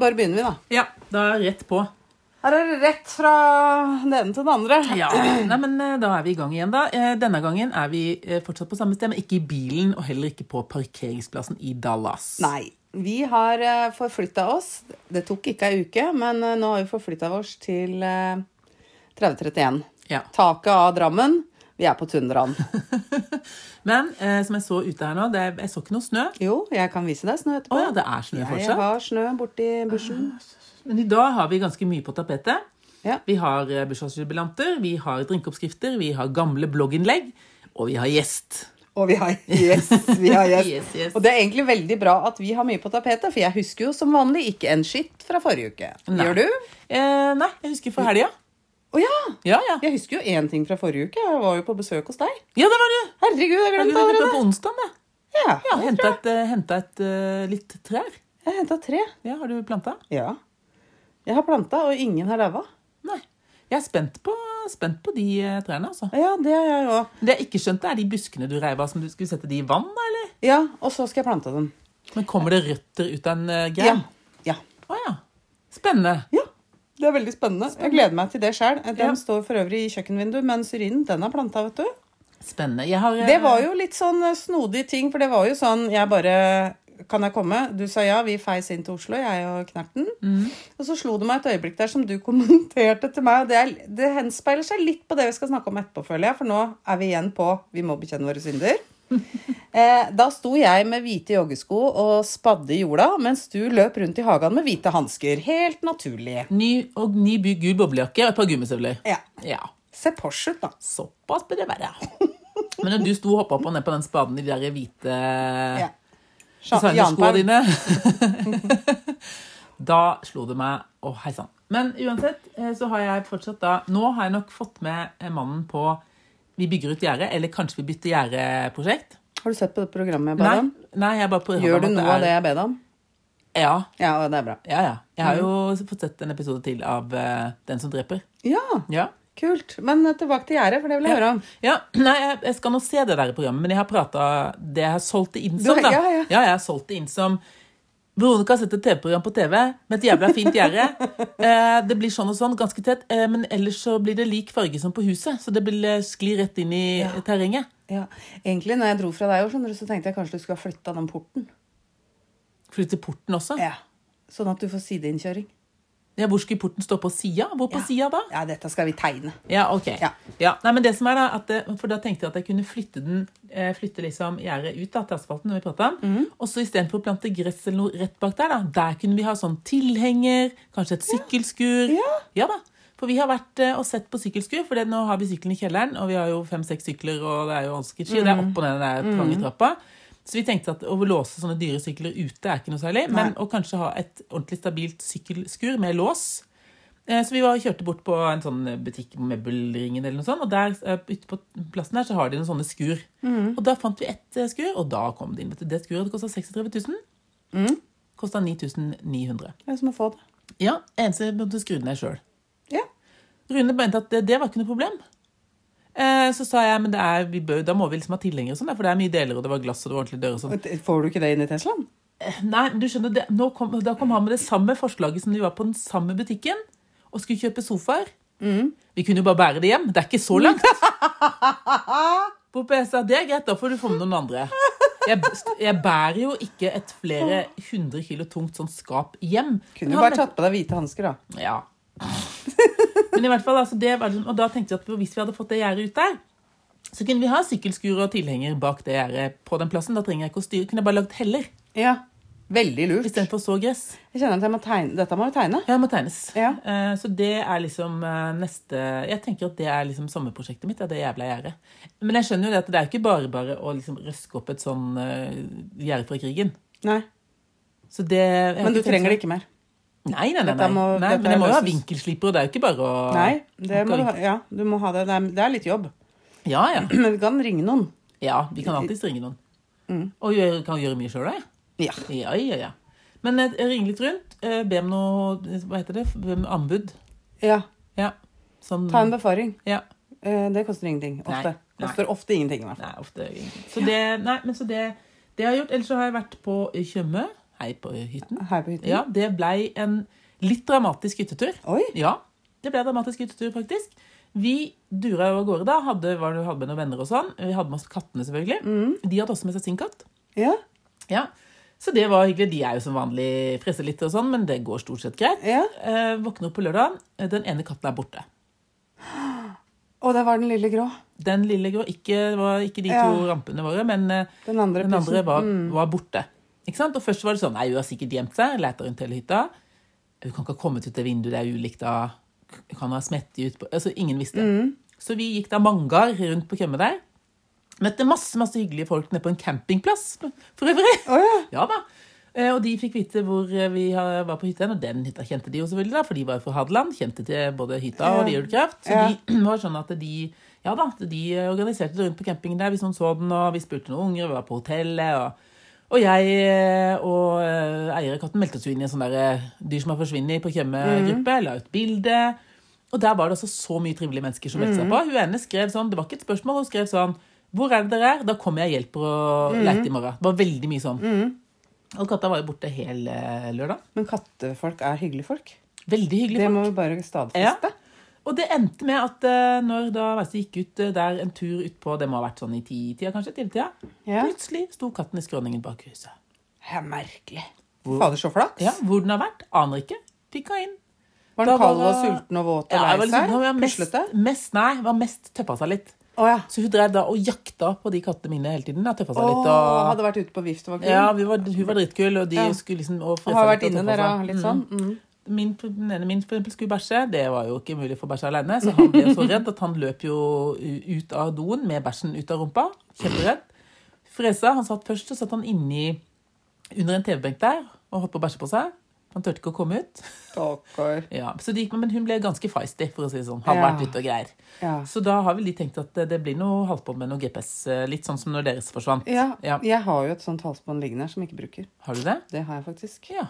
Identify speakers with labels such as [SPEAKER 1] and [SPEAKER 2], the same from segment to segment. [SPEAKER 1] bare begynner vi, da.
[SPEAKER 2] Ja, da er jeg rett på.
[SPEAKER 1] Her er det rett fra det ene til det andre.
[SPEAKER 2] Ja, Nei, men eh, Da er vi i gang igjen, da. Eh, Denne gangen er vi eh, fortsatt på samme sted, men ikke i bilen, og heller ikke på parkeringsplassen i Dallas.
[SPEAKER 1] Nei. Vi har forflytta oss. Det tok ikke ei uke, men eh, nå har vi forflytta oss til eh, 3031.
[SPEAKER 2] Ja.
[SPEAKER 1] Taket av Drammen. Vi er på tundraen.
[SPEAKER 2] Men eh, som jeg så ute her nå, det er, jeg så ikke noe snø.
[SPEAKER 1] Jo, jeg kan vise deg snø etterpå.
[SPEAKER 2] Å ja, det er snø
[SPEAKER 1] jeg
[SPEAKER 2] fortsatt. Ah,
[SPEAKER 1] har snø borti bushen.
[SPEAKER 2] Men i dag har vi ganske mye på tapetet.
[SPEAKER 1] Ja.
[SPEAKER 2] Vi har eh, bursdagsjubilanter, vi har drinkeoppskrifter, vi har gamle blogginnlegg, og vi har gjest.
[SPEAKER 1] Og vi har Yes, vi har yes.
[SPEAKER 2] Yes, yes.
[SPEAKER 1] Og det er egentlig veldig bra at vi har mye på tapetet, for jeg husker jo som vanlig ikke en skitt fra forrige uke.
[SPEAKER 2] Nei.
[SPEAKER 1] Gjør du?
[SPEAKER 2] Eh, nei, jeg husker fra helga.
[SPEAKER 1] Å ja!
[SPEAKER 2] Ja, ja.
[SPEAKER 1] Jeg husker jo én ting fra forrige uke. Jeg var jo på besøk hos deg.
[SPEAKER 2] Ja, det var det!
[SPEAKER 1] Herregud, jeg
[SPEAKER 2] Jeg
[SPEAKER 1] glemte
[SPEAKER 2] var
[SPEAKER 1] allerede.
[SPEAKER 2] på onsdag, da.
[SPEAKER 1] Ja,
[SPEAKER 2] Ja, Henta et, eh, hentet et eh, litt trær.
[SPEAKER 1] jeg henta tre.
[SPEAKER 2] Ja, Har du planta?
[SPEAKER 1] Ja. Jeg har planta, og ingen har daua.
[SPEAKER 2] Nei. Jeg er spent på, spent på de eh, trærne, altså.
[SPEAKER 1] Ja, det har jeg òg.
[SPEAKER 2] Det jeg ikke skjønte, er de buskene du reiv av som du skulle sette de i vann, da, eller?
[SPEAKER 1] Ja, og så skal jeg plante dem.
[SPEAKER 2] Men kommer det røtter ut av en eh,
[SPEAKER 1] Ja.
[SPEAKER 2] grein?
[SPEAKER 1] ja.
[SPEAKER 2] Å ja. Spennende.
[SPEAKER 1] Ja. Det er veldig spennende. Jeg gleder meg til det sjøl. Den
[SPEAKER 2] Ja.
[SPEAKER 1] står for øvrig i kjøkkenvinduet, men syrinen, den er planta, vet du.
[SPEAKER 2] Spennende. Jeg har eh,
[SPEAKER 1] Det var jo litt sånn eh, snodig ting, for det var jo sånn Jeg bare Kan jeg komme? Du sa ja, vi feis inn til Oslo, jeg og Knerten.
[SPEAKER 2] Mm.
[SPEAKER 1] Og så slo det meg et øyeblikk der som du kommenterte til meg, og det, er, det henspeiler seg litt på det vi skal snakke om etterpå, føler jeg, for nå er vi igjen på Vi må bekjenne våre synder. Eh, da sto jeg med hvite joggesko og spadde i jorda, mens du løp rundt i hagen med hvite hansker. Helt naturlig.
[SPEAKER 2] ny, og ny by, gul boblejakke og et par gummistøvler.
[SPEAKER 1] Ja.
[SPEAKER 2] Ja.
[SPEAKER 1] Se Porsche ut, da.
[SPEAKER 2] Såpass bør det være. Men når du sto og hoppa opp og ned på den spaden i de der hvite
[SPEAKER 1] Ja.
[SPEAKER 2] designerskoa
[SPEAKER 1] Jan Paul.
[SPEAKER 2] dine Da slo det meg Å, hei sann. Men uansett eh, så har jeg fortsatt da Nå har jeg nok fått med eh, mannen på Vi bygger ut gjerdet, eller kanskje vi bytter gjerde-prosjekt.
[SPEAKER 1] Har du sett på det programmet jeg ba
[SPEAKER 2] Nei,
[SPEAKER 1] deg om?
[SPEAKER 2] nei, jeg bare prøver
[SPEAKER 1] Gjør du
[SPEAKER 2] at
[SPEAKER 1] noe av
[SPEAKER 2] er-
[SPEAKER 1] det jeg ba deg om?
[SPEAKER 2] Ja,
[SPEAKER 1] Ja, det Mm. er bra.
[SPEAKER 2] ja, ja. Jeg har jo fått sett en episode til av eh, Den som dreper.
[SPEAKER 1] Ja,
[SPEAKER 2] Ja.
[SPEAKER 1] kult. Men eh, tilbake til gjerdet, for det vil jeg høre om.
[SPEAKER 2] Ja, nei, jeg, jeg skal nå se det der i programmet, men jeg har prata Det jeg har solgt det inn som,
[SPEAKER 1] Du-
[SPEAKER 2] da.
[SPEAKER 1] ja, ja.
[SPEAKER 2] jeg har solgt det inn som Veronica har sett et TV-program på TV med et jævla fint gjerde. Eh, det blir sånn og sånn, ganske tett, eh, men ellers så blir det lik farge som på huset. Så det blir eh, skli rett inn i
[SPEAKER 1] Ja.
[SPEAKER 2] terrenget.
[SPEAKER 1] Ja. Egentlig, når jeg dro fra deg, også, skjønner du, så tenkte jeg kanskje du skulle ha flytta den porten.
[SPEAKER 2] Flytte porten også. Ja.
[SPEAKER 1] Ja. Sånn at du får sideinnkjøring.
[SPEAKER 2] hvor skulle porten stå på sida? Hvor på
[SPEAKER 1] Ja.
[SPEAKER 2] sida da?
[SPEAKER 1] Ja, dette skal vi tegne.
[SPEAKER 2] Ja, ok.
[SPEAKER 1] Ja.
[SPEAKER 2] Ja. Nei, men det som er da, at, det- for da tenkte jeg at jeg kunne flytte den, eh, flytte liksom gjerdet ut da, til asfalten når vi pratet om. Og så i stedet for å plante gress eller noe rett bak der, da, der kunne vi ha sånn tilhenger, kanskje et sykkelskur.
[SPEAKER 1] Ja.
[SPEAKER 2] da. For vi har vært eh, og sett på sykkelskur, for det, nå har vi sykkelen i kjelleren, og vi har jo fem-seks sykler, og det er jo vanskelig ski, og det er opp og ned den der trange trappa. Så vi tenkte at å låse sånne dyre sykler ute er ikke noe særlig, men å kanskje ha et ordentlig stabilt sykkelskur med lås, Eh, Så vi var, kjørte bort på en sånn butikk Møbelringen eller noe sånt, og der eh, ute på plassen der så har de noen sånne skur. Og da fant vi ett eh, skur, og da kom det inn. Vet du, det skuret kosta 36 000. Kosta 9900.
[SPEAKER 1] Det er som å få det.
[SPEAKER 2] Ja, eneste jeg måtte skru den ned sjøl.
[SPEAKER 1] Ja.
[SPEAKER 2] Rune mente at det, det var ikke noe problem. Eh, Så sa jeg men det er, vi bør, da må vi liksom ha tilhengere, og sånn, da, for det er mye deler, og det var glass og det var ordentlige dører. og sånn.
[SPEAKER 1] Og det- Får du ikke det inn i Teslaen?
[SPEAKER 2] Nei, men du skjønner, det, nå kom, Da kom han med det samme forslaget som de var på den samme butikken og skulle kjøpe sofaer.
[SPEAKER 1] Mm.
[SPEAKER 2] Vi kunne jo bare bære det hjem. Det er ikke så langt. Hvorpå jeg sa det er greit, da får du få med noen andre. Jeg, jeg bærer jo ikke et flere hundre kilo tungt sånn skap hjem.
[SPEAKER 1] Kunne
[SPEAKER 2] Men
[SPEAKER 1] du
[SPEAKER 2] han
[SPEAKER 1] bare tatt på deg hvite hansker, da.
[SPEAKER 2] ja. Men i hvert fall, altså, det var liksom, og da tenkte jeg at hvis vi hadde fått det gjerdet ut der, så kunne vi ha sykkelskur og tilhenger bak det gjerdet på den plassen. Da trenger jeg ikke å styre. Kunne jeg bare lagd heller
[SPEAKER 1] Ja. Veldig lurt. Jeg
[SPEAKER 2] istedenfor så gress.
[SPEAKER 1] kjenner at jeg må tegne. Dette må jo tegne.
[SPEAKER 2] Ja, må tegnes.
[SPEAKER 1] Ja.
[SPEAKER 2] Eh, Så det er liksom eh, neste Jeg tenker at det er liksom sommerprosjektet mitt. Ja, det jævla gjerdet. Men jeg skjønner jo det at det er ikke bare bare å liksom røske opp et sånn eh, gjerde fra krigen.
[SPEAKER 1] Nei.
[SPEAKER 2] Så det jeg har
[SPEAKER 1] Men du
[SPEAKER 2] tenkt
[SPEAKER 1] trenger
[SPEAKER 2] sånn-
[SPEAKER 1] det ikke mer.
[SPEAKER 2] Nei, nei, nei. nei.
[SPEAKER 1] Dette må-
[SPEAKER 2] nei
[SPEAKER 1] dette
[SPEAKER 2] men jeg må jo ha
[SPEAKER 1] løses.
[SPEAKER 2] vinkelsliper, og det er jo ikke bare å
[SPEAKER 1] Nei. Det må du ha. Ja, du må ha det. Det er, det er litt jobb.
[SPEAKER 2] Ja, ja.
[SPEAKER 1] Men du kan ringe noen.
[SPEAKER 2] ja vi kan alltids ringe noen.
[SPEAKER 1] Mm.
[SPEAKER 2] Og gjøre, kan gjøre mye sjøl, da. jeg.
[SPEAKER 1] Ja.
[SPEAKER 2] Ja, ja, ja. Men eh, ringe litt rundt. eh, Be om noe Hva heter det? Be om Anbud.
[SPEAKER 1] ja.
[SPEAKER 2] Ja. Sånn
[SPEAKER 1] Ta en befaring.
[SPEAKER 2] Ja.
[SPEAKER 1] Eh, Det koster ingenting. Ofte.
[SPEAKER 2] Nei.
[SPEAKER 1] Koster ofte ingenting, i hvert fall.
[SPEAKER 2] Nei, ofte ingenting. Så det, nei, men så det, det har jeg gjort. Ellers så har jeg vært på Tjøme. Hei på hytten.
[SPEAKER 1] Her på hytten.
[SPEAKER 2] Ja, det blei en litt dramatisk hyttetur.
[SPEAKER 1] Oi!
[SPEAKER 2] Ja, det ble en dramatisk hyttetur, faktisk. Vi dura jo av gårde da. Hadde, var, hadde med noen venner og sånn. Vi hadde med oss kattene, selvfølgelig.
[SPEAKER 1] Mm.
[SPEAKER 2] De hadde også med seg sin katt.
[SPEAKER 1] Ja.
[SPEAKER 2] Ja. Så det var hyggelig. De er jo som vanlig fresser litt og sånn, men det går stort sett greit.
[SPEAKER 1] Ja.
[SPEAKER 2] Eh, våkner opp på lørdag. Den ene katten er borte.
[SPEAKER 1] Og der var den lille grå.
[SPEAKER 2] Den lille grå ikke, det var ikke de
[SPEAKER 1] Ja.
[SPEAKER 2] to rampene våre, men eh,
[SPEAKER 1] Den andre
[SPEAKER 2] den andre
[SPEAKER 1] pussen. Mm.
[SPEAKER 2] var, var borte. Ikke sant? Og først var det sånn Nei, hun har sikkert gjemt seg. Leter rundt hele hytta. Hun kan ikke ha kommet ut det vinduet, det er ulikt da. Hun kan ha smettet ut på Altså, ingen visste.
[SPEAKER 1] Mm.
[SPEAKER 2] Så vi gikk da mangar rundt på Kømme der. Møtte masse masse hyggelige folk nede på en campingplass for øvrig.
[SPEAKER 1] Å ja.
[SPEAKER 2] Ja da. Eh, Og de fikk vite hvor eh, vi ha- var på hytta, og den hytta kjente de jo selvfølgelig, da, for de var jo fra Hadeland. Kjente til både hytta og
[SPEAKER 1] Ja.
[SPEAKER 2] Virulkraft. Så
[SPEAKER 1] Ja.
[SPEAKER 2] de var sånn at de ja da, at de organiserte det rundt på campingen der hvis noen så den, og vi spurte noen unger, vi var på hotellet, og, og jeg eh, og eh, eier av katten meldte oss jo inn i en sånn der eh, dyr som har forsvunnet på Tjøme-gruppe, la ut bilde. Og der var det altså så mye trivelige mennesker som meldte seg på. Hun ene skrev sånn, det var ikke et spørsmål, hun skrev sånn Hvor er det dere er? Da kommer jeg og hjelper og leter i morgen. Det var veldig mye sånn. Og katta var jo borte hele eh, lørdag.
[SPEAKER 1] Men kattefolk er hyggelige folk.
[SPEAKER 2] Veldig hyggelig.
[SPEAKER 1] Det må vi bare stadfeste.
[SPEAKER 2] Og det endte med at eh, når da Weise gikk ut eh, der en tur utpå Det må ha vært sånn i ti-tida, kanskje? Tidligtida.
[SPEAKER 1] Ja.
[SPEAKER 2] Plutselig sto katten i skråningen bak huset.
[SPEAKER 1] Det er merkelig. Fader, så flaks.
[SPEAKER 2] Ja, Hvor den har vært, aner ikke. Pikka inn.
[SPEAKER 1] Var
[SPEAKER 2] Da
[SPEAKER 1] den kald
[SPEAKER 2] var-
[SPEAKER 1] og sulten og våt og
[SPEAKER 2] Ja, det var
[SPEAKER 1] lei seg?
[SPEAKER 2] liksom- det var mest,
[SPEAKER 1] Puslete?
[SPEAKER 2] mest, nei, det var mest tøffa seg litt.
[SPEAKER 1] Å ja.
[SPEAKER 2] Så hun drev da og jakta på de kattene mine hele tiden. da, Tøffa seg
[SPEAKER 1] Å,
[SPEAKER 2] litt og
[SPEAKER 1] hadde vært ute på vift og var kul.
[SPEAKER 2] ja, vi var, Hun var dritkul, og de
[SPEAKER 1] Ja.
[SPEAKER 2] skulle liksom og
[SPEAKER 1] Og
[SPEAKER 2] fresa
[SPEAKER 1] har
[SPEAKER 2] litt
[SPEAKER 1] vært
[SPEAKER 2] og
[SPEAKER 1] inne
[SPEAKER 2] tøffa
[SPEAKER 1] dere,
[SPEAKER 2] seg. Mm.
[SPEAKER 1] litt sånn. Mm.
[SPEAKER 2] min, den ene min for eksempel skulle bæsje. Det var jo ikke mulig for bæsje alene, så han ble jo så redd at han løp jo u- ut av doen med bæsjen ut av rumpa. Kjemperedd. Fresa, han satt først, så satt han inni under en TV-benk der og holdt på å bæsje på seg. Han turte ikke å komme ut.
[SPEAKER 1] Stakkar.
[SPEAKER 2] Ja, så det gikk med, Men hun ble ganske feisty, for å si det sånn. Har
[SPEAKER 1] Ja.
[SPEAKER 2] vært ute og greier.
[SPEAKER 1] Ja.
[SPEAKER 2] Så da har vel de tenkt at det- det blir noe holdt på med noe GPS, eh, litt sånn som når deres forsvant.
[SPEAKER 1] Ja,
[SPEAKER 2] Ja.
[SPEAKER 1] jeg har jo et sånt halsbånd liggende her som jeg ikke bruker.
[SPEAKER 2] Har du det?
[SPEAKER 1] Det har jeg faktisk.
[SPEAKER 2] Ja.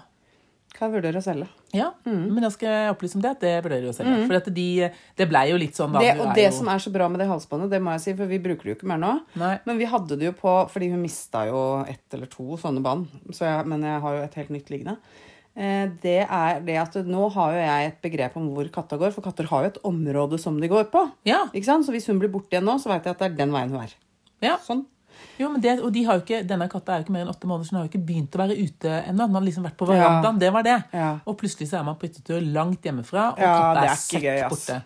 [SPEAKER 1] Kan jeg vurdere å selge.
[SPEAKER 2] Ja,
[SPEAKER 1] Mm.
[SPEAKER 2] men da skal jeg opplyse om det, at det vurderer jo selv. For at de, det blei jo litt sånn da.
[SPEAKER 1] Det,
[SPEAKER 2] du
[SPEAKER 1] og
[SPEAKER 2] er
[SPEAKER 1] det
[SPEAKER 2] jo-
[SPEAKER 1] som er så bra med det halsbåndet, det må jeg si, for vi bruker det jo ikke mer nå.
[SPEAKER 2] Nei.
[SPEAKER 1] Men vi hadde det jo på fordi hun mista jo ett eller to sånne bånd. Så jeg, men jeg har jo et helt nytt liggende. Eh, Det er det at nå har jo jeg et begrep om hvor katta går, for katter har jo et område som de går på.
[SPEAKER 2] Ja,
[SPEAKER 1] Ikke sant? Så hvis hun blir borte igjen nå, så veit jeg at det er den veien hun er.
[SPEAKER 2] ja.
[SPEAKER 1] Sånn.
[SPEAKER 2] Jo, men det, og de har jo ikke, denne katta er jo ikke mer enn åtte måneder, så den har jo ikke begynt å være ute ennå. Den har liksom vært på
[SPEAKER 1] Ja.
[SPEAKER 2] verandaen, det var det.
[SPEAKER 1] Ja.
[SPEAKER 2] Og plutselig så er man på hyttetur langt hjemmefra, og
[SPEAKER 1] Ja,
[SPEAKER 2] katta
[SPEAKER 1] det
[SPEAKER 2] er,
[SPEAKER 1] er ikke
[SPEAKER 2] søkk
[SPEAKER 1] gøy, ass.
[SPEAKER 2] borte.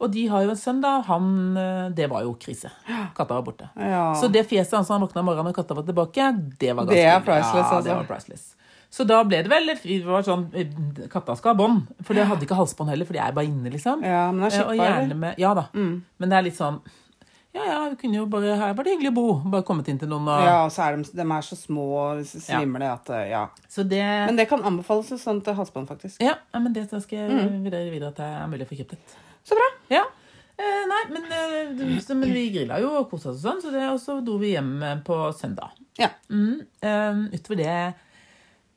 [SPEAKER 2] Og de har jo en sønn, da. Han, eh, det var jo krise. Katta var borte.
[SPEAKER 1] Ja.
[SPEAKER 2] Så det fjeset hans når han våkna om morgenen og katta var tilbake, det var ganske
[SPEAKER 1] Det er priceless,
[SPEAKER 2] ja,
[SPEAKER 1] altså.
[SPEAKER 2] det var priceless. Så da ble det vel det var sånn eh, Katta skal ha bånd. For jeg hadde ikke halsbånd heller, for de er bare inne, liksom.
[SPEAKER 1] Ja, men det er
[SPEAKER 2] Eh, og
[SPEAKER 1] skippa, eller? Mm.
[SPEAKER 2] gjerne med, Ja da. Men det er litt sånn Ja ja, vi kunne jo bare Her var det hyggelig å bo. Bare kommet inn til noen og
[SPEAKER 1] Ja, og så er de, de er så små og s- snimle at eh, Ja.
[SPEAKER 2] Så det
[SPEAKER 1] Men det kan anbefales et sånt eh, halsbånd, faktisk.
[SPEAKER 2] Ja, ja, men det skal jeg
[SPEAKER 1] Mm.
[SPEAKER 2] vurdere videre at det er mulig å få kjøpt et.
[SPEAKER 1] Så bra.
[SPEAKER 2] Ja. Eh, nei, men, eh, du- så, men vi grilla jo og kosa oss og sånn, så det, og så dro vi hjem eh, på søndag.
[SPEAKER 1] Ja.
[SPEAKER 2] Mm, eh, utover det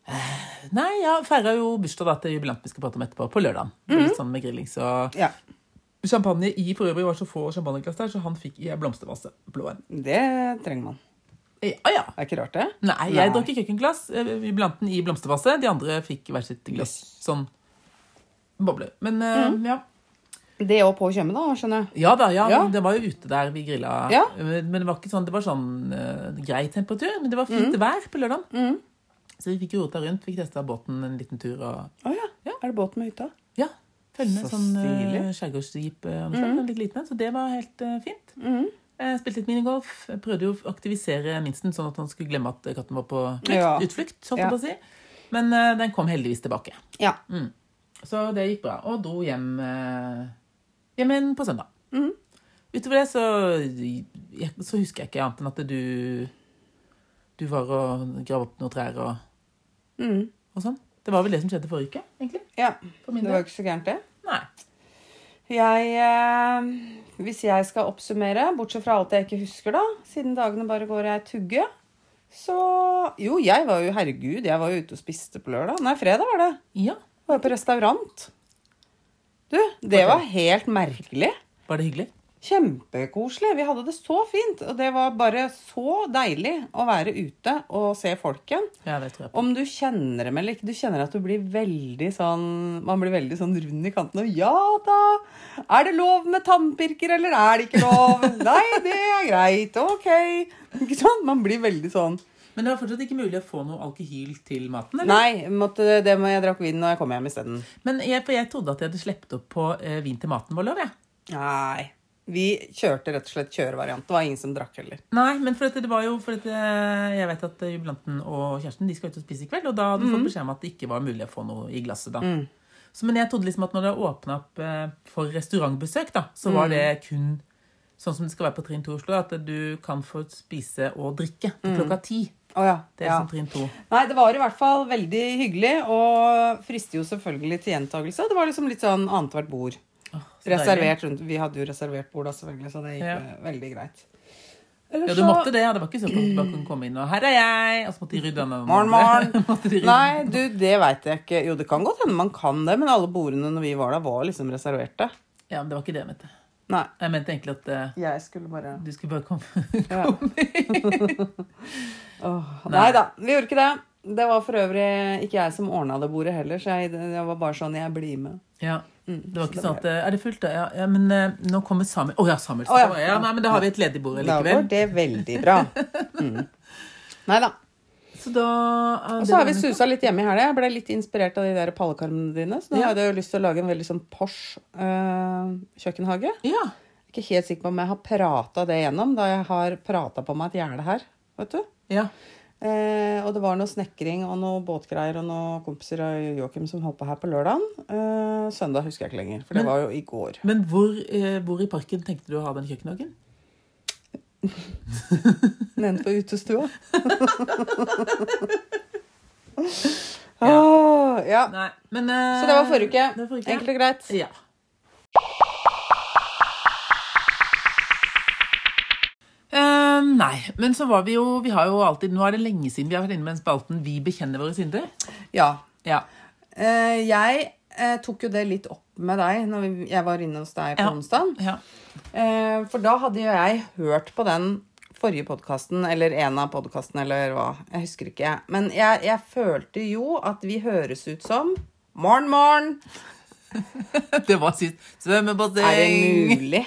[SPEAKER 2] eh, Nei, jeg feira jo bursdag da til jubilanten vi skal prate om etterpå, på lørdag. Litt sånn med grilling, så
[SPEAKER 1] ja.
[SPEAKER 2] Champagne i for øvrig var så få champagneglass der, så han fikk i ei blomstervase. Blå en.
[SPEAKER 1] Det trenger man.
[SPEAKER 2] Eh, ah, Ja, ja.
[SPEAKER 1] Det er ikke rart, det.
[SPEAKER 2] Nei, jeg
[SPEAKER 1] Nei.
[SPEAKER 2] drakk i kjøkkenglass. eh, Jubilanten i blomstervase. De andre fikk hvert sitt glass. Sånn boble. Men eh, ja.
[SPEAKER 1] Det òg på Tjøme, da, skjønner jeg.
[SPEAKER 2] Ja da, ja,
[SPEAKER 1] Ja.
[SPEAKER 2] det var jo ute der vi grilla.
[SPEAKER 1] Ja.
[SPEAKER 2] Men det var ikke sånn, det var sånn eh, grei temperatur, men det var fint vær på lørdag. Så vi fikk jo rota rundt, fikk testa båten en liten tur og
[SPEAKER 1] Å ja.
[SPEAKER 2] Ja.
[SPEAKER 1] Er det båt med hytta?
[SPEAKER 2] ja, følge med
[SPEAKER 1] Så
[SPEAKER 2] sånn eh,
[SPEAKER 1] stilig. Mm.
[SPEAKER 2] skjærgårdsjeep. eh, og sånn, Litt liten, så det var helt eh, fint. Eh, spilte litt minigolf. Jeg prøvde jo å aktivisere minsten, sånn at han skulle glemme at katten var på flukt,
[SPEAKER 1] Ja.
[SPEAKER 2] utflukt. Holdt
[SPEAKER 1] Ja.
[SPEAKER 2] jeg på å si. Men eh, den kom heldigvis tilbake. Mm.
[SPEAKER 1] Ja.
[SPEAKER 2] Så det gikk bra. Og dro hjem, eh, hjem igjen på søndag.
[SPEAKER 1] Mm.
[SPEAKER 2] Utover det så, jeg, så husker jeg ikke annet enn at du Du var og grav opp noen trær og,
[SPEAKER 1] Mm.
[SPEAKER 2] og sånn. Det var vel det som skjedde forrige uke, egentlig.
[SPEAKER 1] ja.
[SPEAKER 2] For min
[SPEAKER 1] Det var jo
[SPEAKER 2] del.
[SPEAKER 1] ikke så gærent, det.
[SPEAKER 2] Nei.
[SPEAKER 1] Jeg eh, Hvis jeg skal oppsummere, bortsett fra alt jeg ikke husker, da, siden dagene bare går jeg tugge, så Jo, jeg var jo Herregud, jeg var jo ute og spiste på lørdag. Nei, fredag var det.
[SPEAKER 2] Ja.
[SPEAKER 1] Jeg var på restaurant. Du, det var helt merkelig.
[SPEAKER 2] Var det hyggelig?
[SPEAKER 1] Kjempekoselig. Vi hadde det så fint. Og det var bare så deilig å være ute og se folk igjen.
[SPEAKER 2] Ja, det tror jeg på.
[SPEAKER 1] Om du kjenner dem eller ikke, du kjenner at du blir veldig sånn Man blir veldig sånn rund i kanten og Ja da! Er det lov med tannpirker, eller er det ikke lov? Nei, det er greit. Ok. Ikke sant? Man blir veldig sånn
[SPEAKER 2] Men det var fortsatt ikke mulig å få noe alkohol til maten? eller?
[SPEAKER 1] Nei, måtte, det må jeg drakk vin når jeg kom hjem isteden.
[SPEAKER 2] Men jeg, for jeg trodde at jeg hadde sleppet opp på eh, vin til maten vår, lov jeg.
[SPEAKER 1] Nei. Vi kjørte rett og slett kjørevariant. Det var ingen som drakk heller.
[SPEAKER 2] Nei, men for at det var jo for at eh, jeg vet at eh, jubilanten og kjæresten de skal ut og spise i kveld, og da hadde du fått beskjed om at det ikke var mulig å få noe i glasset da. Så, men jeg trodde liksom at når det åpnet opp eh, for restaurantbesøk da, så var det kun sånn som det skal være på trinn 2 i Oslo, at du kan få spise og drikke til klokka 10.
[SPEAKER 1] Å ja.
[SPEAKER 2] Det er
[SPEAKER 1] ja.
[SPEAKER 2] som trinn 2.
[SPEAKER 1] Nei, det var i hvert fall veldig hyggelig, og frister jo selvfølgelig til gjentakelse. Det var liksom litt sånn annethvert bord.
[SPEAKER 2] Åh, så deilig.
[SPEAKER 1] Reservert rundt. Vi hadde jo reservert bord da, selvfølgelig, så det gikk
[SPEAKER 2] Ja.
[SPEAKER 1] eh, veldig greit. Eller
[SPEAKER 2] Ja, du måtte det, ja. Det var ikke sånn at du bare kunne komme inn og her er jeg, og så måtte de rydde den.
[SPEAKER 1] Morgen, morgen.
[SPEAKER 2] måtte de rydde.
[SPEAKER 1] Nei, du, det veit jeg ikke. Jo, det kan godt hende man kan det, men alle bordene når vi var der, var liksom reserverte.
[SPEAKER 2] Ja, men det var ikke det jeg mente.
[SPEAKER 1] Nei.
[SPEAKER 2] Jeg mente egentlig at eh,
[SPEAKER 1] Jeg skulle bare
[SPEAKER 2] du skulle bare komme.
[SPEAKER 1] ja. Åh,
[SPEAKER 2] Nei.
[SPEAKER 1] Nei da, vi gjorde ikke det. Det var for øvrig ikke jeg som ordna det bordet heller, så jeg, jeg var bare sånn Jeg blir med.
[SPEAKER 2] Ja. Det var
[SPEAKER 1] Mm, så
[SPEAKER 2] ikke
[SPEAKER 1] det
[SPEAKER 2] sånn at eh, Er det fullt, da? Ja, ja men eh, nå kommer Samuel. Å ja, Samuel.
[SPEAKER 1] Å, ja.
[SPEAKER 2] ja. nei, men da har vi et ledig bord
[SPEAKER 1] Da går
[SPEAKER 2] likevel.
[SPEAKER 1] det veldig bra. Mm. Nei da.
[SPEAKER 2] Så da eh,
[SPEAKER 1] Og
[SPEAKER 2] det
[SPEAKER 1] så har
[SPEAKER 2] var-
[SPEAKER 1] vi susa litt hjemme i helga. Jeg ble litt inspirert av de der pallekarmene dine. Så nå
[SPEAKER 2] Ja.
[SPEAKER 1] hadde jeg jo lyst til å lage en veldig sånn Porsche eh, kjøkkenhage.
[SPEAKER 2] Ja.
[SPEAKER 1] Jeg er Ikke helt sikker på om jeg har prata det gjennom, da jeg har prata på meg et gjerde her. Vet du?
[SPEAKER 2] ja.
[SPEAKER 1] Eh, og det var noe snekring og noe båtgreier og noen kompiser av Joakim som holdt på her på lørdagen. Eh, søndag husker jeg ikke lenger, for det var jo i går.
[SPEAKER 2] Men hvor, eh, hvor i parken tenkte du å ha den kjøkkenhagen?
[SPEAKER 1] Nede på utestua.
[SPEAKER 2] Ja.
[SPEAKER 1] Åh, ja.
[SPEAKER 2] Nei, men eh,
[SPEAKER 1] Så det var forrige uke.
[SPEAKER 2] det var forrige uke.
[SPEAKER 1] Enkelt og greit.
[SPEAKER 2] Ja. Eh, nei, men så var vi jo Vi har jo alltid Nå er det lenge siden vi har vært inne med den spalten 'Vi bekjenner våre synder'.
[SPEAKER 1] Ja.
[SPEAKER 2] Ja.
[SPEAKER 1] Eh, jeg eh, tok jo det litt opp med deg når vi, jeg var inne hos deg på
[SPEAKER 2] Ja.
[SPEAKER 1] onsdag.
[SPEAKER 2] ja.
[SPEAKER 1] Eh, for da hadde jo jeg hørt på den forrige podkasten, eller en av podkastene, eller hva. Jeg husker ikke. Men jeg, jeg følte jo at vi høres ut som Morn, morn!
[SPEAKER 2] Det var sist. Svømmebasseng!
[SPEAKER 1] Er det mulig?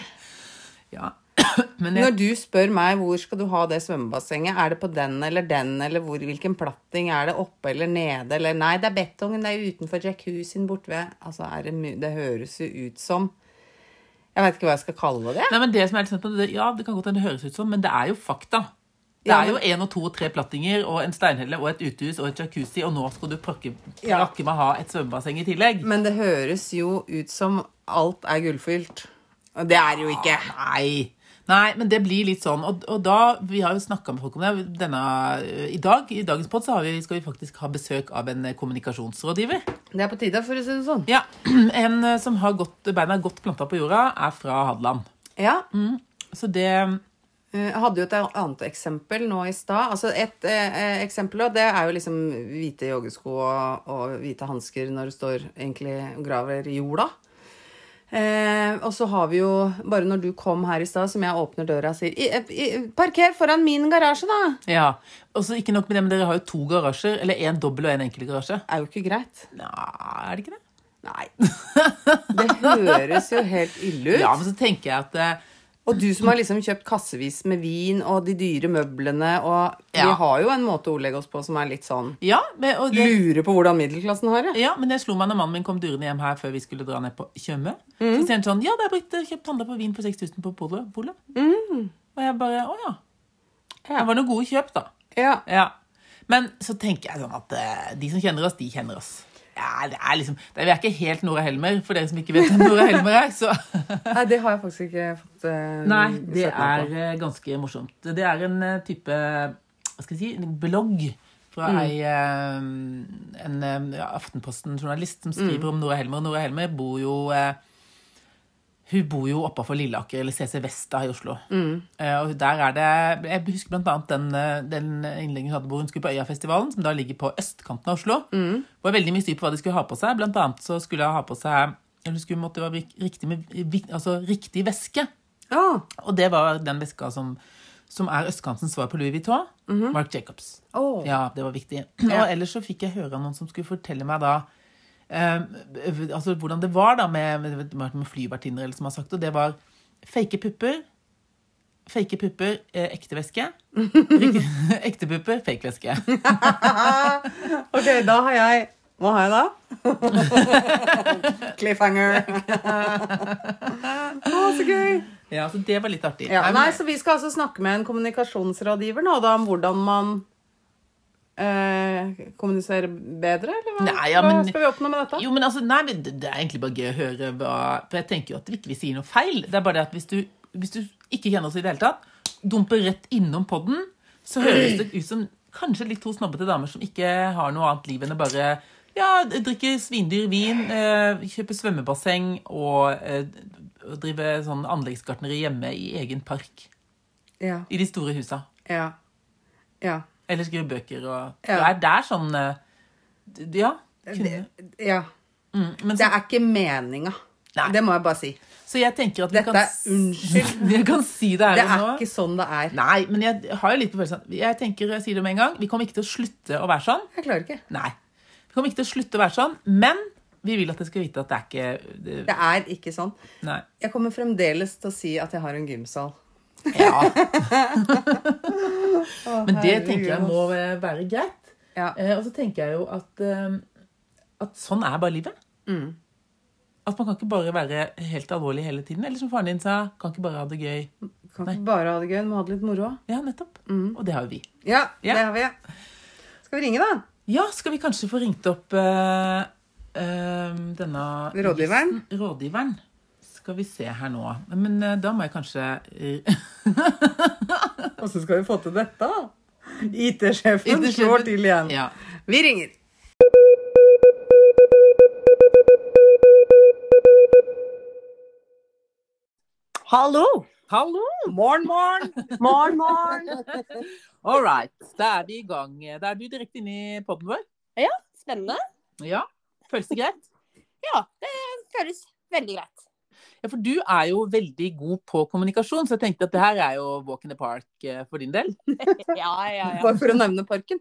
[SPEAKER 2] Ja. Men jeg,
[SPEAKER 1] Når du spør meg hvor skal du ha det svømmebassenget, er det på den eller den, eller hvor, hvilken platting, er det oppe eller nede, eller nei, det er betongen, det er utenfor jacuzzien borte ved Altså, er det mu... Det høres jo ut som Jeg veit ikke hva jeg skal kalle det.
[SPEAKER 2] nei, men det som er litt sant, det, ja, det kan godt hende det høres ut sånn, men det er jo fakta. Det
[SPEAKER 1] Ja,
[SPEAKER 2] er jo én og to og tre plattinger og en steinhelle og et utehus og et jacuzzi, og nå skal du prakke,
[SPEAKER 1] Ja.
[SPEAKER 2] prakke meg ha et svømmebasseng i tillegg.
[SPEAKER 1] Men det høres jo ut som alt er gullfylt. Og det er det jo ikke.
[SPEAKER 2] Nei. Nei, men det blir litt sånn. Og, og da, Vi har jo snakka med folk om det. Denne, I dag i dagens pod så har vi, skal vi faktisk ha besøk av en kommunikasjonsrådgiver.
[SPEAKER 1] Det er på tide, for å si det sånn.
[SPEAKER 2] Ja, En eh, som har godt, beina godt planta på jorda, er fra Hadeland.
[SPEAKER 1] Ja.
[SPEAKER 2] Så det
[SPEAKER 1] Eh, Jeg hadde jo et annet eksempel nå i stad. Altså et eh, eh, eksempel, og det er jo liksom hvite joggesko og, og hvite hansker når du står egentlig og graver i jorda. Eh, og så har vi jo, bare når du kom her i stad, som jeg åpner døra og sier I, eh, i, Parker foran min garasje, da!
[SPEAKER 2] Ja, og så ikke nok med det, men dere har jo to garasjer, eller en dobbel og en enkel garasje.
[SPEAKER 1] Det er jo ikke greit.
[SPEAKER 2] Nei, er det ikke det?
[SPEAKER 1] Nei. Det høres jo helt ille ut.
[SPEAKER 2] Ja, men så tenker jeg at eh,
[SPEAKER 1] Og du som har liksom kjøpt kassevis med vin og de dyre møblene og Vi
[SPEAKER 2] Ja.
[SPEAKER 1] har jo en måte å ordlegge oss på som er litt sånn
[SPEAKER 2] ja, men, og det,
[SPEAKER 1] Lurer på hvordan middelklassen har det.
[SPEAKER 2] ja, men det slo meg når mannen min kom durende hjem her før vi skulle dra ned på Tjøme. Så sier han sånn Ja, det er Britt eh, kjøpt handla på vin for 6000 på polet. polet. Og jeg bare Å ja.
[SPEAKER 1] Ja.
[SPEAKER 2] Det var noen gode kjøp, da.
[SPEAKER 1] Ja.
[SPEAKER 2] Ja. Men så tenker jeg sånn at eh, de som kjenner oss, de kjenner oss. Ja, det er liksom det, Vi er ikke helt Nora Helmer, for dere som ikke vet hvem Nora Helmer er. så...
[SPEAKER 1] Nei, det har jeg faktisk ikke fått eh,
[SPEAKER 2] Nei, det
[SPEAKER 1] sett meg
[SPEAKER 2] er
[SPEAKER 1] på.
[SPEAKER 2] eh, ganske morsomt. Det er en eh, type hva skal jeg si, en blogg
[SPEAKER 1] Mm.
[SPEAKER 2] fra ei, eh, en eh, ja, Aftenposten-journalist som
[SPEAKER 1] Mm.
[SPEAKER 2] skriver om Nora Helmer. Og Nora Helmer bor jo eh, hun bor jo oppafor Lilleaker, eller CC Vesta i Oslo.
[SPEAKER 1] Mm.
[SPEAKER 2] Eh, Og der er det Jeg husker blant annet den, eh, den innleggen hun hadde hvor hun skulle på Øyafestivalen, som da ligger på østkanten av Oslo. Mm. Var veldig mye styr på hva de skulle ha på seg. Blant annet så skulle hun ha på seg Eller hun skulle måtte være rik- riktig, med, vik- altså, riktig væske.
[SPEAKER 1] Ja.
[SPEAKER 2] Og det var den veska som, som er østkantens svar på Louis Vuitton. Mark Jacobs.
[SPEAKER 1] Å.
[SPEAKER 2] Ja, det var viktig.
[SPEAKER 1] Ja.
[SPEAKER 2] Og ellers så fikk jeg høre av noen som skulle fortelle meg da eh, altså hvordan det var da med, med, med flyvertinner, eller som har sagt, og det var fake pupper. Fake pupper, eh, ekte væske. Riktig- ekte pupper, fake væske.
[SPEAKER 1] Ok, da har jeg Hva har jeg da? Cliffhanger. Å, så gøy.
[SPEAKER 2] Ja, så det var litt artig.
[SPEAKER 1] Ja,
[SPEAKER 2] Nei, men-
[SPEAKER 1] nei, så vi skal altså snakke med en kommunikasjonsrådgiver nå, da, om hvordan man eh, kommuniserer bedre, eller hva?
[SPEAKER 2] Nei, ja,
[SPEAKER 1] hva
[SPEAKER 2] men-
[SPEAKER 1] skal vi oppnå med dette?
[SPEAKER 2] Jo, men altså, nei, men det det er egentlig bare gøy å høre hva For jeg tenker jo at vi ikke sier noe feil. Det er bare det at hvis du, hvis du ikke kjenner oss i det hele tatt, dumper rett innom podden, så høres det ut som kanskje litt to snobbete damer som ikke har noe annet liv enn å bare ja, drikke svindyr vin, eh, kjøpe svømmebasseng og eh, drive sånn anleggsgartneri hjemme i egen park.
[SPEAKER 1] Ja,
[SPEAKER 2] I de store husa.
[SPEAKER 1] ja, ja.
[SPEAKER 2] Eller skrive bøker og Det
[SPEAKER 1] Ja.
[SPEAKER 2] er der sånn eh, d- Ja. Kunne.
[SPEAKER 1] ja.
[SPEAKER 2] Mm, men
[SPEAKER 1] Det er ikke meninga.
[SPEAKER 2] Nei.
[SPEAKER 1] Det må jeg bare si.
[SPEAKER 2] Så jeg tenker at vi
[SPEAKER 1] Dette
[SPEAKER 2] kan,
[SPEAKER 1] er
[SPEAKER 2] s-
[SPEAKER 1] unnskyld.
[SPEAKER 2] vi kan si det her
[SPEAKER 1] Det
[SPEAKER 2] og
[SPEAKER 1] er
[SPEAKER 2] nå.
[SPEAKER 1] ikke sånn det er.
[SPEAKER 2] Nei, men jeg har jo litt på følelsen Jeg tenker, jeg sier det med en gang, vi kommer ikke til å slutte å være sånn.
[SPEAKER 1] Jeg klarer ikke.
[SPEAKER 2] Nei. Vi kommer ikke til å slutte å være sånn, men vi vil at dere skal vite at det er ikke det,
[SPEAKER 1] Det er ikke sånn.
[SPEAKER 2] Nei.
[SPEAKER 1] Jeg kommer fremdeles til å si at jeg har en gymsal.
[SPEAKER 2] Ja. Men det
[SPEAKER 1] herregud,
[SPEAKER 2] tenker jeg
[SPEAKER 1] ass.
[SPEAKER 2] må eh, være greit.
[SPEAKER 1] Ja.
[SPEAKER 2] Eh, Og så tenker jeg jo at, eh, at sånn er bare livet.
[SPEAKER 1] Mm.
[SPEAKER 2] At man kan ikke bare være helt alvorlig hele tiden. Eller som faren din sa, kan ikke bare ha det gøy.
[SPEAKER 1] Kan ikke bare ha det gøy, må ha det litt moro.
[SPEAKER 2] Ja, nettopp.
[SPEAKER 1] Mm.
[SPEAKER 2] Og det har jo vi.
[SPEAKER 1] Ja,
[SPEAKER 2] Ja.
[SPEAKER 1] det har vi. Skal vi ringe, da?
[SPEAKER 2] Ja, skal vi kanskje få ringt opp eh, eh, denne
[SPEAKER 1] Rådgiveren?
[SPEAKER 2] gjesten- Rådgiveren. Skal vi se her nå. Men eh, da må jeg kanskje eh,
[SPEAKER 1] Åssen skal vi få til dette? IT-sjefen
[SPEAKER 2] IT-sjefen.
[SPEAKER 1] slår til igjen.
[SPEAKER 2] Ja.
[SPEAKER 1] Vi ringer.
[SPEAKER 3] Hallo!
[SPEAKER 2] Hallo!
[SPEAKER 3] Morgen, morgen! Morgen, morgen!
[SPEAKER 2] All right. Da er vi i gang. Da er du direkte inne i poden vår.
[SPEAKER 3] Spennende.
[SPEAKER 2] Ja. Føles det greit?
[SPEAKER 3] Ja, det føles veldig greit.
[SPEAKER 2] Ja, for du er jo veldig god på kommunikasjon, så jeg tenkte at det her er jo walk in the park eh, for din del.
[SPEAKER 3] Ja, ja, ja.
[SPEAKER 1] Bare for å nevne parken.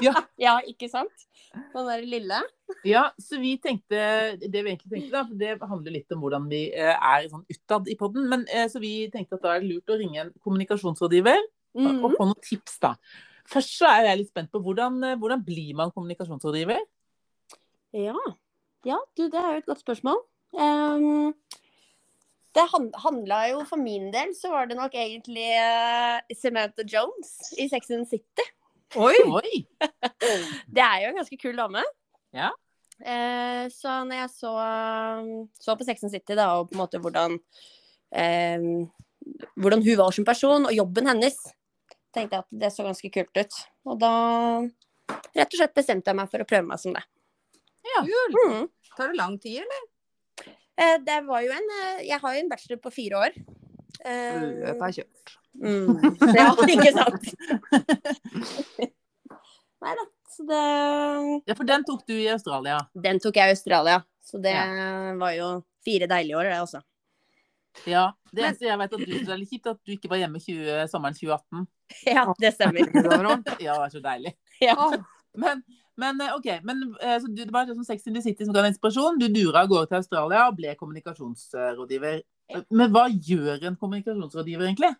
[SPEAKER 3] Ja, ikke sant? Den der lille.
[SPEAKER 2] Ja, så vi tenkte Det vi egentlig tenkte, da, for det handler litt om hvordan vi eh, er sånn utad i poden. Men eh, så vi tenkte at da er det lurt å ringe en kommunikasjonsrådgiver. og-
[SPEAKER 3] Mm.
[SPEAKER 2] og få noen tips, da. Først så er jeg litt spent på hvordan, eh, hvordan blir man kommunikasjonsrådgiver?
[SPEAKER 3] Ja. ja, du, det er jo et godt spørsmål. Ehm, det han- handla jo for min del, så var det nok egentlig eh, Samantha Jones i Sex and the City.
[SPEAKER 1] Oi!
[SPEAKER 2] Oi!
[SPEAKER 3] Det er jo en ganske kul dame.
[SPEAKER 2] Ja.
[SPEAKER 3] Eh, så når jeg så, så på Sex and the City, da, og på en måte hvordan eh, Hvordan hun var som person, og jobben hennes, tenkte jeg at det så ganske kult ut. Og da rett og slett bestemte jeg meg for å prøve meg som det.
[SPEAKER 1] Jul.
[SPEAKER 3] Mm.
[SPEAKER 1] Tar det lang tid, eller?
[SPEAKER 3] Eh, det var jo en eh, Jeg har jo en bachelor på fire år. Eh,
[SPEAKER 1] Løpet er kjørt.
[SPEAKER 3] Mm. Ja, ikke sant? Nei da. Så det
[SPEAKER 2] Ja, for den tok du i Australia.
[SPEAKER 3] Den tok jeg i Australia, så det var jo fire deilige år, det altså. også.
[SPEAKER 2] Ja, Det eneste jeg vet at du synes det er litt kjipt, at du ikke var hjemme 20, sommeren 2018.
[SPEAKER 3] Ja, det stemmer.
[SPEAKER 2] Ja, det var så deilig.
[SPEAKER 3] Ja.
[SPEAKER 1] Åh,
[SPEAKER 2] Men, men eh, OK. Men eh, så du, det var liksom Sex in the City som ga deg inspirasjon. Du dura av gårde til Australia og ble kommunikasjonsrådgiver. Men hva gjør en kommunikasjonsrådgiver egentlig?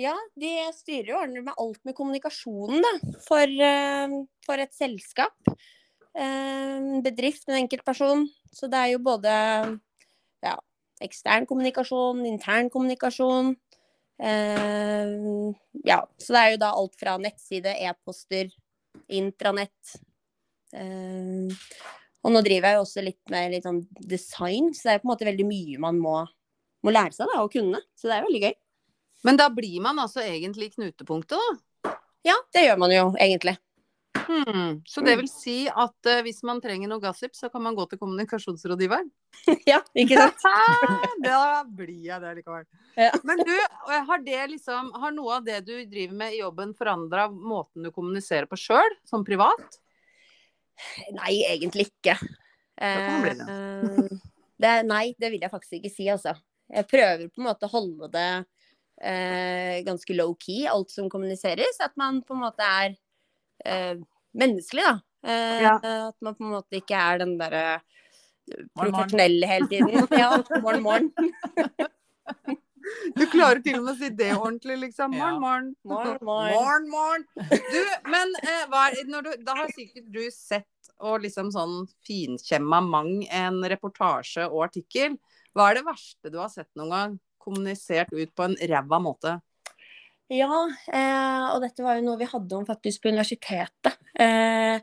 [SPEAKER 3] ja, de styrer og ordner med alt med kommunikasjonen, da. For, eh, for et selskap. eh, En bedrift, en enkeltperson. Så det er jo både ja, ekstern kommunikasjon, intern kommunikasjon. eh, ja, så det er jo da alt fra nettside, e-poster, intranett. eh, og nå driver jeg jo også litt med litt sånn design, så det er på en måte veldig mye man må, må lære seg da, å kunne. Så det er veldig gøy.
[SPEAKER 1] Men da blir man altså egentlig i knutepunktet, da.
[SPEAKER 3] Ja, det gjør man jo egentlig.
[SPEAKER 1] Hmm. Så det vil si at eh, hvis man trenger noe gossip, så kan man gå til kommunikasjonsrådgiveren?
[SPEAKER 3] ja, ikke sant?
[SPEAKER 1] da blir jeg det likevel.
[SPEAKER 3] Ja.
[SPEAKER 1] Men du, har, det liksom, har noe av det du driver med i jobben forandra måten du kommuniserer på sjøl, som privat?
[SPEAKER 3] Nei, egentlig ikke.
[SPEAKER 1] kan man bli
[SPEAKER 3] Eh, det, nei, det vil jeg faktisk ikke si, altså. Jeg prøver på en måte å holde det eh, ganske low-key, alt som kommuniseres. At man på en måte er eh, menneskelig, da. Eh,
[SPEAKER 1] Ja.
[SPEAKER 3] At man på en måte ikke er den derre
[SPEAKER 2] Morgen, morgen.
[SPEAKER 3] profesjonelle hele tiden. Ja, morgen, morgen.
[SPEAKER 1] Du klarer til og med å si det ordentlig, liksom.
[SPEAKER 2] Ja.
[SPEAKER 1] Morn, morn.
[SPEAKER 3] Morn, morn.
[SPEAKER 1] Morn, morn. Du, men eh, hva er, når du, da har sikkert du sett og liksom sånn finkjemma mang en reportasje og artikkel. Hva er det verste du har sett noen gang? Kommunisert ut på en ræva måte.
[SPEAKER 3] Ja, eh, og dette var jo noe vi hadde om faktisk på universitetet. Eh,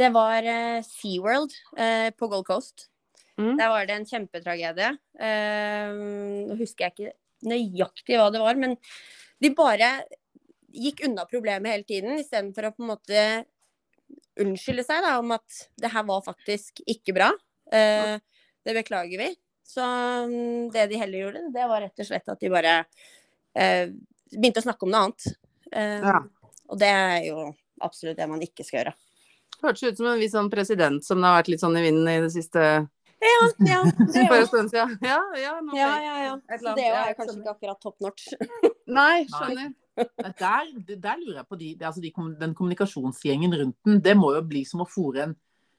[SPEAKER 3] det var eh, SeaWorld eh, på Gold Coast.
[SPEAKER 1] Mm.
[SPEAKER 3] Der var det en kjempetragedie. Eh, nå husker jeg ikke nøyaktig hva det var, men de bare gikk unna problemet hele tiden istedenfor å på en måte unnskylde seg da, om at det her var faktisk ikke bra. Eh, det beklager vi. Så mm, det de heller gjorde, det var rett og slett at de bare eh, begynte å snakke om noe annet. Eh,
[SPEAKER 1] Ja.
[SPEAKER 3] Og det er jo absolutt det man ikke skal gjøre.
[SPEAKER 1] Hørtes ut som en viss sånn president som det har vært litt sånn i vinden i det siste
[SPEAKER 3] Ja, ja, det
[SPEAKER 1] for
[SPEAKER 3] er
[SPEAKER 1] en
[SPEAKER 3] jo-
[SPEAKER 1] stund siden. Ja, ja, nå
[SPEAKER 3] ja,
[SPEAKER 1] fikk-
[SPEAKER 3] ja, ja.
[SPEAKER 1] sånn Et eller
[SPEAKER 3] Så
[SPEAKER 1] annet.
[SPEAKER 3] det er jo-
[SPEAKER 1] Ja,
[SPEAKER 3] er
[SPEAKER 1] jeg sånn-
[SPEAKER 3] kanskje ikke akkurat top notch.
[SPEAKER 1] Nei, skjønner.
[SPEAKER 2] Nei, Eh, Der, det- der lurer jeg på de, det- altså de, kom- den kommunikasjonsgjengen rundt den. Det må jo bli som å fòre en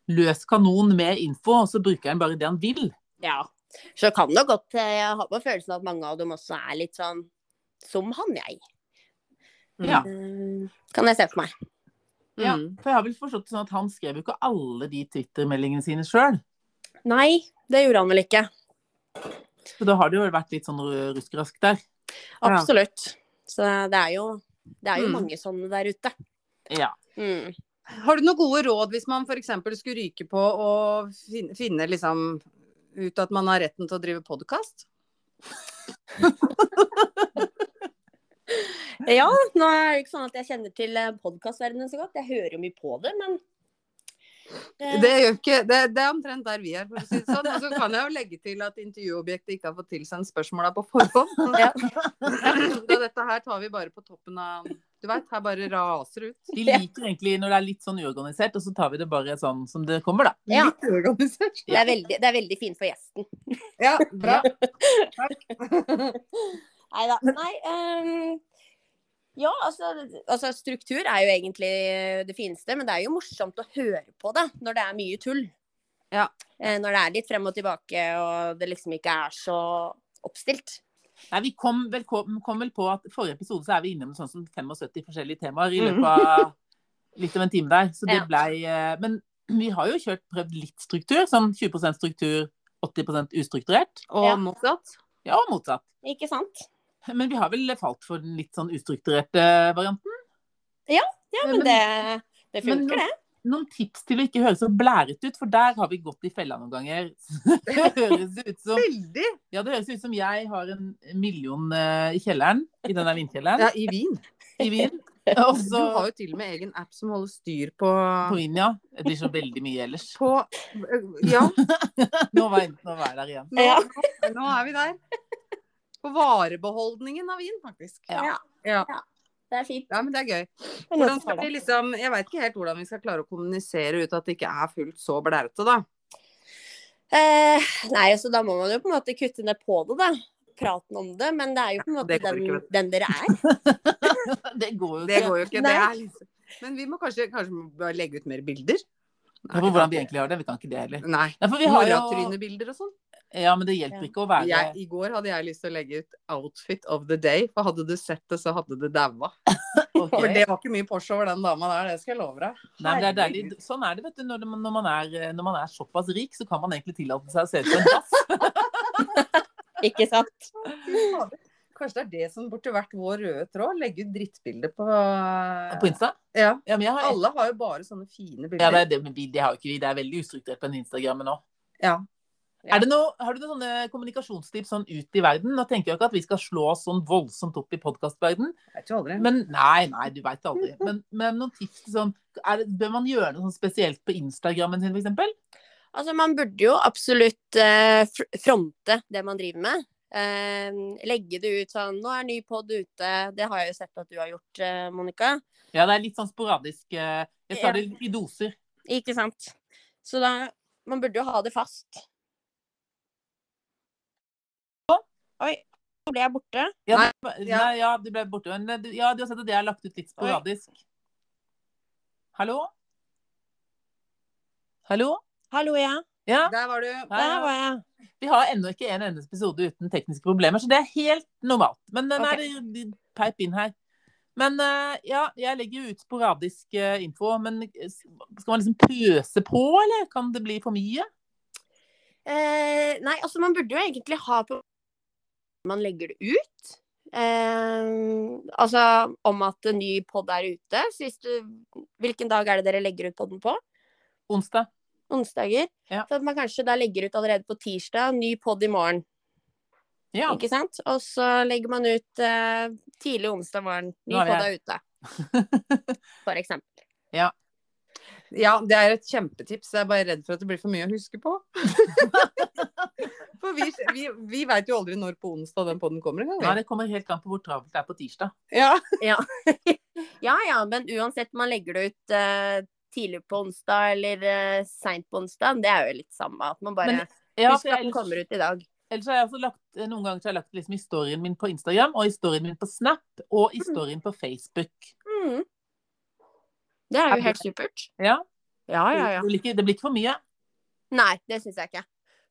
[SPEAKER 2] løs kanon med info, og så bruker en bare det han vil.
[SPEAKER 3] Ja. Så kan det godt eh, Jeg har på følelsen at mange av dem også er litt sånn som han, jeg.
[SPEAKER 2] Ja.
[SPEAKER 3] Eh, Kan jeg se for meg.
[SPEAKER 2] Ja,
[SPEAKER 1] Mm.
[SPEAKER 2] for jeg har vel forstått det sånn at han skrev jo ikke alle de Twitter-meldingene sine sjøl.
[SPEAKER 3] Nei, det gjorde han vel ikke.
[SPEAKER 2] Så da har det jo vært litt sånn ru- ruskerask der.
[SPEAKER 3] Absolutt. Så det er jo, det er jo
[SPEAKER 1] Mm.
[SPEAKER 3] mange sånne der ute.
[SPEAKER 2] Ja.
[SPEAKER 3] Mm.
[SPEAKER 1] Har du noen gode råd hvis man f.eks. skulle ryke på å finne, finne liksom ut at man har retten til å drive podkast?
[SPEAKER 3] Ja, nå er det ikke sånn at jeg kjenner til podkastverdenen så godt. Jeg hører jo mye på det, men Eh,
[SPEAKER 1] Det, gjør ikke- det, det er omtrent der vi er, for å si det sånn. Og så kan jeg jo legge til at intervjuobjektet ikke har fått tilsendt spørsmåla på forhånd.
[SPEAKER 3] Ja.
[SPEAKER 1] Så dette her tar vi bare på toppen av Du veit, her bare raser ut.
[SPEAKER 2] De liker egentlig når det er litt sånn uorganisert, og så tar vi det bare sånn som det kommer, da.
[SPEAKER 3] Ja.
[SPEAKER 1] Litt uorganisert.
[SPEAKER 3] Det er veldig, det er veldig fint for gjesten.
[SPEAKER 1] Ja, bra.
[SPEAKER 3] Nei da. Nei ehm, Ja, altså, altså Struktur er jo egentlig eh, det fineste, men det er jo morsomt å høre på det når det er mye tull.
[SPEAKER 1] Ja.
[SPEAKER 3] Eh, Når det er litt frem og tilbake, og det liksom ikke er så oppstilt.
[SPEAKER 2] Nei, vi kom vel, kom, kom vel på at forrige episode så er vi innom sånn som 75 forskjellige temaer i løpet av litt over en time der. Så det
[SPEAKER 3] Ja.
[SPEAKER 2] blei eh, Men vi har jo kjørt prøvd litt struktur. Sånn 20 struktur, 80 ustrukturert.
[SPEAKER 1] Og
[SPEAKER 3] Ja.
[SPEAKER 1] motsatt.
[SPEAKER 2] Ja, og motsatt.
[SPEAKER 3] Ikke sant?
[SPEAKER 2] Men vi har vel falt for den litt sånn ustrukturerte varianten.
[SPEAKER 3] Ja,
[SPEAKER 2] Men-
[SPEAKER 3] men det, det
[SPEAKER 2] men-
[SPEAKER 3] funker, det.
[SPEAKER 2] Noen tips til å ikke høre så blæret ut, for der har vi gått i fella noen ganger. Det høres ut som,
[SPEAKER 1] Veldig.
[SPEAKER 2] ja, det høres ut som jeg har en million eh, i kjelleren, i den
[SPEAKER 1] Ja,
[SPEAKER 2] der vinkjelleren
[SPEAKER 1] i Wien.
[SPEAKER 2] i Wien. Og
[SPEAKER 1] Du
[SPEAKER 2] så
[SPEAKER 1] har jo til og med egen app som holder styr på
[SPEAKER 2] Altså, på Wien, ja. Det blir så veldig mye ellers.
[SPEAKER 1] På Ja.
[SPEAKER 2] Nå var jeg, nå var jeg der igjen.
[SPEAKER 1] Nå,
[SPEAKER 3] Ja.
[SPEAKER 1] nå, nå er vi der. På varebeholdningen av vin, faktisk.
[SPEAKER 2] Ja.
[SPEAKER 1] Ja.
[SPEAKER 3] Det er fint.
[SPEAKER 1] Ja, men det er gøy.
[SPEAKER 3] Det er noe
[SPEAKER 1] Hvordan
[SPEAKER 3] som
[SPEAKER 1] skal
[SPEAKER 3] får
[SPEAKER 1] vi
[SPEAKER 3] det.
[SPEAKER 1] liksom, jeg veit ikke helt hvordan vi skal klare å kommunisere ut at det ikke er fullt så blærete, da.
[SPEAKER 3] Eh, nei, så da må man jo på en måte kutte ned på det, da. Praten om det. Men det er jo på en måte
[SPEAKER 1] det går ikke,
[SPEAKER 3] den,
[SPEAKER 1] vet
[SPEAKER 3] den dere er.
[SPEAKER 2] Det går jo
[SPEAKER 1] Det
[SPEAKER 2] ikke.
[SPEAKER 1] går jo ikke. Det
[SPEAKER 3] Nei.
[SPEAKER 1] er liksom. Men vi må kanskje, kanskje må bare legge ut mer bilder?
[SPEAKER 2] Ja, for hvordan vi egentlig har det, vi kan ikke det heller.
[SPEAKER 1] Nei.
[SPEAKER 2] Ja, for vi har jo,
[SPEAKER 1] Morratrynebilder og sånn.
[SPEAKER 2] ja, men det hjelper ikke å være
[SPEAKER 1] Jeg- I går hadde jeg lyst til å legge ut 'Outfit of the Day', for hadde du sett det, så hadde det daua.
[SPEAKER 2] Ok.
[SPEAKER 1] For det var ikke mye Porsche over den dama der, det skal jeg love deg.
[SPEAKER 2] Nei, men det er deilig. Sånn er det, vet du. Når, det- når, man er, når man er såpass rik, så kan man egentlig tillate seg å se ut som en dass.
[SPEAKER 3] Ikke sant?
[SPEAKER 1] Herregud. Kanskje det er det som burde vært vår røde tråd? Legge ut drittbilder på
[SPEAKER 2] På Insta?
[SPEAKER 1] Ja.
[SPEAKER 2] Ja, men jeg har
[SPEAKER 1] Alle har jo bare sånne fine
[SPEAKER 2] ja, det,
[SPEAKER 1] bilder.
[SPEAKER 2] er det, men vi, det har jo ikke vi. Det er veldig ustrukturert på den Instagrammen nå.
[SPEAKER 1] Ja. Ja.
[SPEAKER 2] Er det noe, har du noen sånne kommunikasjonstips sånn ut i verden? Nå tenker jeg ikke at vi skal slå oss sånn voldsomt opp i podkastverdenen,
[SPEAKER 1] Jeg vet jo aldri.
[SPEAKER 2] men nei, nei, du veit aldri. Men, men noen tips til sånn er det, Bør man gjøre noe sånn spesielt på Instagrammen sin, f.eks.?
[SPEAKER 3] Altså, man burde jo absolutt eh, fr- fronte det man driver med. Eh, legge det ut sånn 'Nå er ny pod ute'. Det har jeg jo sett at du har gjort, eh, Monica.
[SPEAKER 2] Ja, det er litt sånn sporadisk. eh, Jeg
[SPEAKER 3] Ja.
[SPEAKER 2] tar det i doser.
[SPEAKER 3] Ikke sant? Så da Man burde jo ha det fast. Oi, nå ble jeg borte.
[SPEAKER 2] Ja,
[SPEAKER 1] Nei,
[SPEAKER 2] du,
[SPEAKER 1] ja.
[SPEAKER 2] nei, ja, du ble borte. Men eh, du, ja, du har sett at jeg har lagt ut litt sporadisk. Hallo? Hallo?
[SPEAKER 3] Hallo, ja.
[SPEAKER 2] Ja,
[SPEAKER 1] Der var du.
[SPEAKER 2] hei,
[SPEAKER 3] Der
[SPEAKER 2] ja.
[SPEAKER 3] var jeg.
[SPEAKER 2] Vi har ennå ikke en eneste episode uten tekniske problemer, så det er helt normalt. Men eh, nei,
[SPEAKER 3] Ok.
[SPEAKER 2] det- det- peip inn her. Men eh, ja, jeg legger jo ut sporadisk eh, info. Men eh, skal man liksom pøse på, eller kan det bli for mye?
[SPEAKER 3] Eh, nei, altså man burde jo egentlig ha på Man legger det ut. Eh, altså om at en ny pod er ute. Så hvis du Hvilken dag er det dere legger ut podden på?
[SPEAKER 2] Onsdag?
[SPEAKER 3] Onsdager?
[SPEAKER 2] Ja.
[SPEAKER 3] Så at man kanskje da legger ut allerede på tirsdag. Ny pod i morgen.
[SPEAKER 2] Ja.
[SPEAKER 3] Ikke sant? Og så legger man ut eh, tidlig onsdag morgen. Ny
[SPEAKER 2] Nå er vi
[SPEAKER 3] pod er ute. For eksempel.
[SPEAKER 1] Ja, det er et kjempetips. Jeg er bare redd for at det blir for mye å huske på. for vi, vi, vi veit jo aldri når på onsdag den podden kommer engang.
[SPEAKER 2] Nei,
[SPEAKER 1] vi.
[SPEAKER 2] det kommer helt an på hvor travelt det er på tirsdag.
[SPEAKER 1] Ja.
[SPEAKER 3] Ja ja, men uansett om man legger det ut eh, tidlig på onsdag eller uh, seint på onsdag, det er jo litt samme. At man bare
[SPEAKER 2] Men- Ja, for
[SPEAKER 3] husker at den
[SPEAKER 2] ellers-
[SPEAKER 3] kommer ut i dag.
[SPEAKER 2] Ellers har jeg også lagt, noen ganger så har jeg lagt liksom historien min på Instagram, og historien min på Snap, og historien på Facebook.
[SPEAKER 3] Mm. Det er jo helt supert.
[SPEAKER 2] Ja,
[SPEAKER 3] Ja ja ja.
[SPEAKER 2] Du liker- Det blir ikke for mye.
[SPEAKER 3] Nei, det syns jeg ikke.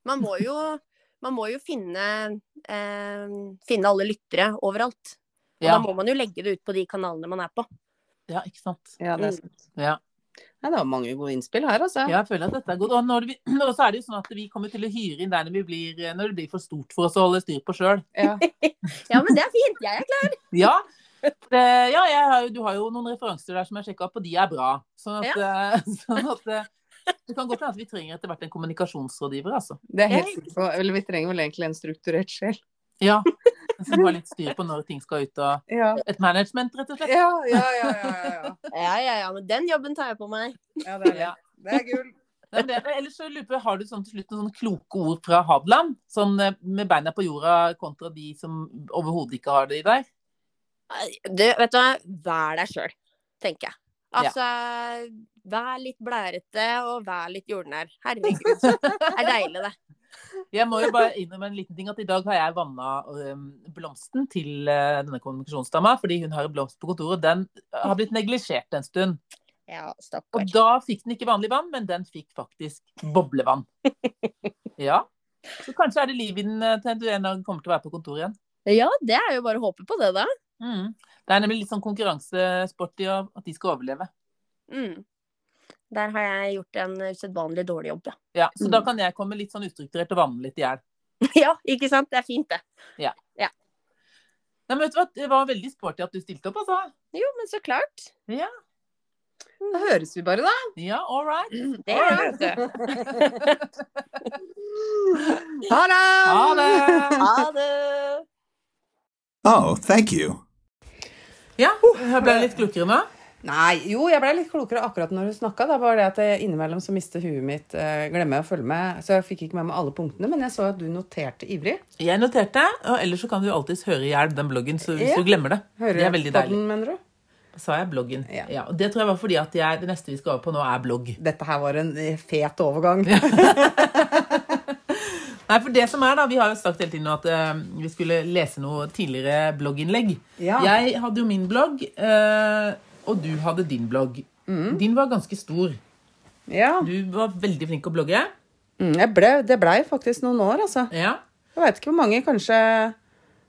[SPEAKER 3] Man må jo, man må jo finne, eh, finne alle lyttere overalt. Og
[SPEAKER 2] Ja,
[SPEAKER 3] da må man jo legge det ut på de kanalene man er på.
[SPEAKER 2] ja ikke sant.
[SPEAKER 1] ja, det er sant.
[SPEAKER 2] Ja.
[SPEAKER 1] Nei, det var mange gode innspill her, altså.
[SPEAKER 2] Ja, jeg føler at dette er godt. Og, når vi, og så er det jo sånn at vi kommer til å hyre inn der når, vi blir, eh, når det blir for stort for oss å holde styr på sjøl.
[SPEAKER 1] Ja.
[SPEAKER 3] Ja, men det er fint. Jeg er klar.
[SPEAKER 2] Ja. Eh, ja jeg har, jo- du har jo noen referanser der som jeg sjekka opp, og de er bra. Sånn at, eh, sånn at eh, Det kan godt hende at vi trenger etter hvert en kommunikasjonsrådgiver, altså.
[SPEAKER 1] Det er jeg helt sikker på. Eller vi trenger vel egentlig en strukturert sjel.
[SPEAKER 2] Ja. Som har litt styr på når ting skal ut, og
[SPEAKER 1] Ja.
[SPEAKER 2] et management, rett og slett.
[SPEAKER 1] Ja, ja, ja, ja, ja, ja.
[SPEAKER 3] Ja, ja, ja, men den jobben tar jeg på meg.
[SPEAKER 1] ja det er det.
[SPEAKER 2] Ja.
[SPEAKER 1] Det er gull.
[SPEAKER 2] Nei, men det- Ellers så lurer jeg på, Har du sånn til slutt noen sånne kloke ord fra Hadeland? Sånn eh, med beina på jorda kontra de som overhodet ikke har det i deg?
[SPEAKER 3] Du, vet du hva, vær deg sjøl, tenker jeg. Altså, vær litt blærete og vær litt jordnær. Herregud, det er deilig, det.
[SPEAKER 2] Jeg må jo bare innrømme en liten ting at i dag har jeg vanna eh, blomsten til eh, denne kommunikasjonsdama, fordi hun har en blomst på kontoret. og Den har blitt neglisjert en stund.
[SPEAKER 3] Ja,
[SPEAKER 2] Og
[SPEAKER 3] stakkar.
[SPEAKER 2] da fikk den ikke vanlig vann, men den fikk faktisk boblevann. Ja. Så kanskje er det liv i den eh, til du en dag kommer til å være på kontoret igjen.
[SPEAKER 3] Ja, det er jo bare å håpe på det, da.
[SPEAKER 2] Mm. Det er nemlig litt sånn konkurransesport i å- at de skal overleve.
[SPEAKER 3] Mm. Der har jeg gjort en usedvanlig dårlig jobb, ja.
[SPEAKER 2] Ja, så
[SPEAKER 3] Mm.
[SPEAKER 2] da kan jeg komme litt sånn ustrukturert og vanne litt i hjel.
[SPEAKER 3] ja, ikke sant? Det er fint, det.
[SPEAKER 2] Nei, men vet du hva, det var veldig sporty at du stilte opp, altså.
[SPEAKER 3] Jo, men så klart.
[SPEAKER 1] Da høres vi bare, da.
[SPEAKER 2] Ja, all right.
[SPEAKER 3] Det gjør jeg, vet du.
[SPEAKER 1] Ha det!
[SPEAKER 2] Ha det!
[SPEAKER 3] Ha det.
[SPEAKER 4] Oh, thank you.
[SPEAKER 2] Ja, jeg ble litt klokere nå.
[SPEAKER 1] Nei, jo, jeg ble litt klokere akkurat når du snakka. Det er bare det at jeg innimellom så mister huet mitt eh, Glemmer jeg å følge med. Så jeg fikk ikke med meg alle punktene, men jeg så at du noterte ivrig.
[SPEAKER 2] Jeg noterte, og ellers så kan du alltids høre i hjel den bloggen så hvis
[SPEAKER 1] Ja.
[SPEAKER 2] du glemmer det.
[SPEAKER 1] Hører
[SPEAKER 2] det er veldig
[SPEAKER 1] på
[SPEAKER 2] deilig.
[SPEAKER 1] den, mener du?
[SPEAKER 2] Sa jeg bloggen?
[SPEAKER 1] Ja.
[SPEAKER 2] Ja. og det tror jeg var fordi at jeg, det neste vi skal over på nå, er blogg.
[SPEAKER 1] Dette her var en eh, fet overgang.
[SPEAKER 2] Nei, for det som er da, Vi har jo sagt hele tiden nå at eh, vi skulle lese noe tidligere blogginnlegg.
[SPEAKER 1] Ja.
[SPEAKER 2] Jeg hadde jo min blogg, eh, og du hadde din blogg.
[SPEAKER 1] Mm.
[SPEAKER 2] Din var ganske stor.
[SPEAKER 1] Ja.
[SPEAKER 2] Du var veldig flink å blogge.
[SPEAKER 1] Mm, jeg ble, det blei faktisk noen år, altså.
[SPEAKER 2] Ja.
[SPEAKER 1] Jeg veit ikke hvor mange, kanskje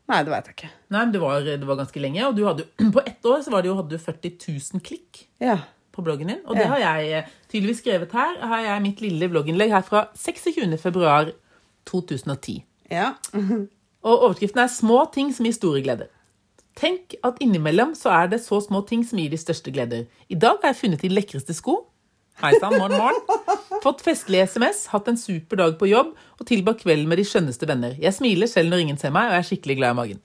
[SPEAKER 1] Nei, det veit jeg ikke.
[SPEAKER 2] Nei, men det var, det var ganske lenge. Og du hadde, jo- på ett år så var det jo, hadde du 40 000 klikk
[SPEAKER 1] Ja.
[SPEAKER 2] på bloggen din. Og det
[SPEAKER 1] Ja.
[SPEAKER 2] har jeg eh, tydeligvis skrevet her. har jeg mitt lille blogginnlegg her fra 26.2.2010.
[SPEAKER 1] Ja.
[SPEAKER 2] Og overskriften er 'Små ting som gir store gleder'. Tenk at innimellom så er det så små ting som gir de største gleder. I dag har jeg funnet de lekreste sko. Hei sann, morgen, morgen. Fått festlig SMS, hatt en super dag på jobb og tilbrakt kvelden med de skjønneste venner. Jeg smiler selv når ingen ser meg, og jeg er skikkelig glad i magen.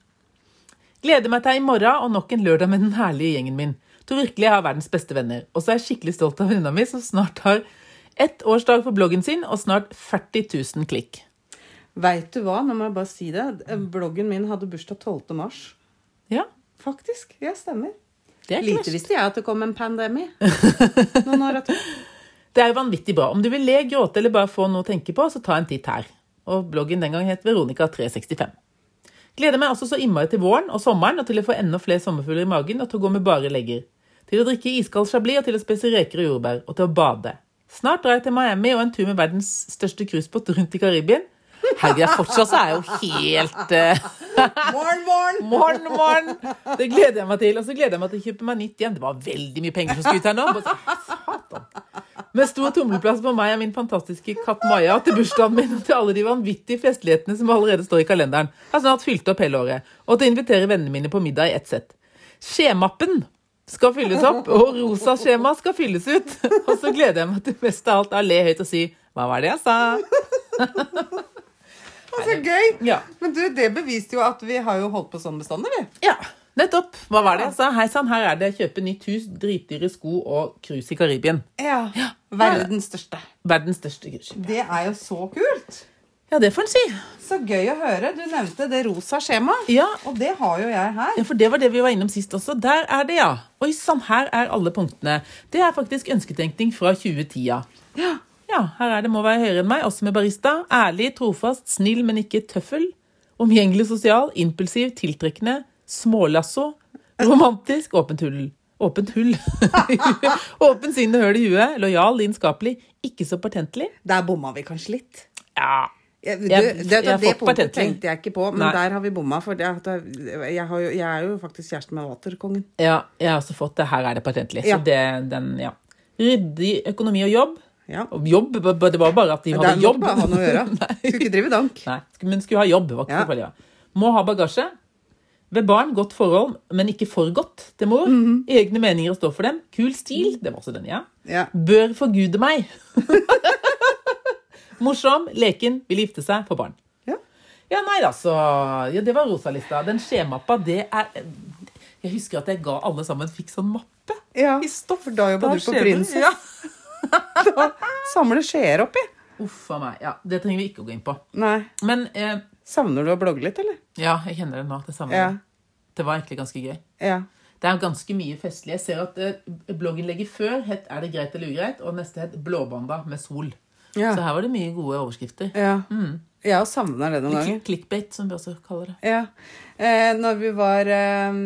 [SPEAKER 2] Gleder meg til i morgen og nok en lørdag med den herlige gjengen min. Tror virkelig jeg har verdens beste venner. Og så er jeg skikkelig stolt av venninna mi, som snart har ett årsdag på bloggen sin og snart 40 000 klikk.
[SPEAKER 1] Veit du hva, nå må jeg bare si det. Bloggen min hadde bursdag 12. mars.
[SPEAKER 2] Ja,
[SPEAKER 1] Faktisk. Ja, stemmer.
[SPEAKER 2] det er ikke verst.
[SPEAKER 1] Lite visste jeg at det kom en pandemi. Noen år etter.
[SPEAKER 2] Det er jo vanvittig bra. Om du vil le, gråte eller bare få noe å tenke på, så ta en titt her. Og bloggen den gang het Veronica365. Gleder meg også så innmari til våren og sommeren, og til å få enda flere sommerfugler i magen, og til å gå med bare legger. Til å drikke iskald chablis, og til å spise reker og jordbær, og til å bade. Snart drar jeg til Miami og en tur med verdens største cruisebåt rundt i Karibien. Herregud, jeg fortsatt så er jeg jo helt eh,
[SPEAKER 1] Morn, morn!
[SPEAKER 2] Morgen, morgen! Det gleder jeg meg til. Og så gleder jeg meg til å kjøpe meg nytt igjen. Det var veldig mye penger som skulle ut her nå. Bare så- Satan. Med stor tumleplass på meg og min fantastiske katt Maja til bursdagen min og til alle de vanvittige festlighetene som allerede står i kalenderen. Jeg har snart fylt opp hele året. Og til å invitere vennene mine på middag i ett sett. Skjemappen skal fylles opp, og rosa skjema skal fylles ut. Og så gleder jeg meg til mest av alt å le høyt og si 'Hva var det jeg sa?'
[SPEAKER 1] Så gøy!
[SPEAKER 2] Ja.
[SPEAKER 1] Men du, det beviste jo at vi har jo holdt på sånn bestandig, vi.
[SPEAKER 2] Ja, nettopp. Hva var det jeg sa? Hei sann, her er det kjøpe nytt hus, dritdyre sko og cruise i Karibien.
[SPEAKER 1] Ja. Verdens største.
[SPEAKER 2] Verdens største cruise.
[SPEAKER 1] Det er jo så kult!
[SPEAKER 2] Ja, det får en si.
[SPEAKER 1] Så gøy å høre. Du nevnte det rosa skjemaet.
[SPEAKER 2] Ja.
[SPEAKER 1] Og det har jo jeg her.
[SPEAKER 2] Ja, for det var det vi var innom sist også. Der er det, ja. Oi sann, her er alle punktene. Det er faktisk ønsketenkning fra 2010-a.
[SPEAKER 1] Ja.
[SPEAKER 2] Ja, her er det må være høyere enn meg, også med barista. Ærlig, trofast, snill, men ikke tøffel. Omgjengelig sosial, impulsiv, tiltrekkende, smålasso, romantisk, åpent hull. Åpent hull. Åpent sinn og høl i huet. Lojal, lidenskapelig, ikke så patentlig.
[SPEAKER 1] Der bomma vi kanskje litt.
[SPEAKER 2] Ja.
[SPEAKER 1] Jeg, du,
[SPEAKER 2] Jeg-
[SPEAKER 1] det, det,
[SPEAKER 2] jeg
[SPEAKER 1] det
[SPEAKER 2] får
[SPEAKER 1] punktet
[SPEAKER 2] patentling.
[SPEAKER 1] tenkte jeg ikke på, men
[SPEAKER 2] Nei.
[SPEAKER 1] der har vi bomma. For det, at jeg, jeg, har jo, jeg er jo faktisk kjæresten med Waterkongen.
[SPEAKER 2] ja. Jeg har også fått det. Her er det patentlig.
[SPEAKER 1] Ja.
[SPEAKER 2] Så det, den, ja. Ryddig økonomi og jobb.
[SPEAKER 1] Ja.
[SPEAKER 2] Og Jobb, b- b- det var bare at de
[SPEAKER 1] Det
[SPEAKER 2] hadde
[SPEAKER 1] er nok
[SPEAKER 2] jobb.
[SPEAKER 1] bare å ha noe å gjøre. Skulle ikke drive dank.
[SPEAKER 2] Nei, sk- men skulle ha jobb. Var ikke
[SPEAKER 1] Ja.
[SPEAKER 2] så farlig, ja. Må ha bagasje. Ved barn, godt forhold, men ikke for godt til mor.
[SPEAKER 1] Mhm.
[SPEAKER 2] Egne meninger og stå for dem. Kul stil. Det var også den, ja.
[SPEAKER 1] Ja.
[SPEAKER 2] Bør forgude meg. Morsom, leken, vil gifte seg, få barn.
[SPEAKER 1] Ja.
[SPEAKER 2] Ja, nei da, så ja, Det var rosalista. Den skjemappa, det er Jeg husker at jeg ga alle sammen fikk sånn mappe.
[SPEAKER 1] Ja,
[SPEAKER 2] I stoff.
[SPEAKER 1] for da jobba du på
[SPEAKER 2] skjemaer.
[SPEAKER 1] Prinsens.
[SPEAKER 2] Ja.
[SPEAKER 1] Samle skjeer oppi.
[SPEAKER 2] Uff a meg. Ja, det trenger vi ikke å gå inn på.
[SPEAKER 1] Nei.
[SPEAKER 2] Men eh,
[SPEAKER 1] Savner du å blogge litt, eller?
[SPEAKER 2] ja, jeg kjenner det nå. Det samme.
[SPEAKER 1] Ja.
[SPEAKER 2] Det var egentlig ganske gøy.
[SPEAKER 1] ja.
[SPEAKER 2] Det er ganske mye festlig. Jeg ser at eh, blogginnlegget før het 'Er det greit eller ugreit?' og neste het 'Blåbanda med sol'.
[SPEAKER 1] Ja.
[SPEAKER 2] Så her var det mye gode overskrifter.
[SPEAKER 1] ja.
[SPEAKER 2] Mm.
[SPEAKER 1] Jeg òg savner det noen ganger.
[SPEAKER 2] Klik- Clickbait, som vi også kaller det.
[SPEAKER 1] Ja. Eh, når vi var eh,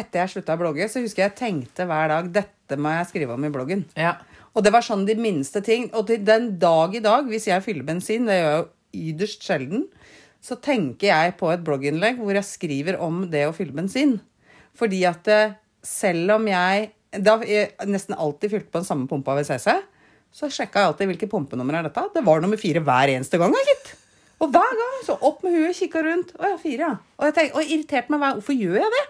[SPEAKER 1] Etter jeg slutta å blogge, så husker jeg jeg tenkte hver dag dette må jeg skrive om i bloggen.
[SPEAKER 2] Ja.
[SPEAKER 1] Og det var sånn de minste ting. Og til den dag i dag, hvis jeg fyller bensin, det gjør jeg jo yderst sjelden, så tenker jeg på et blogginnlegg hvor jeg skriver om det å fylle bensin. Fordi at eh, selv om jeg da jeg nesten alltid fylte på den samme pumpa ved CC, så sjekka jeg alltid hvilket pumpenummer er dette. Det var nummer fire hver eneste gang, da, gitt. Og hver gang så opp med huet, kikka rundt. Å ja, fire, ja. Og jeg tenkte, og irriterte meg hver Hvorfor gjør jeg det?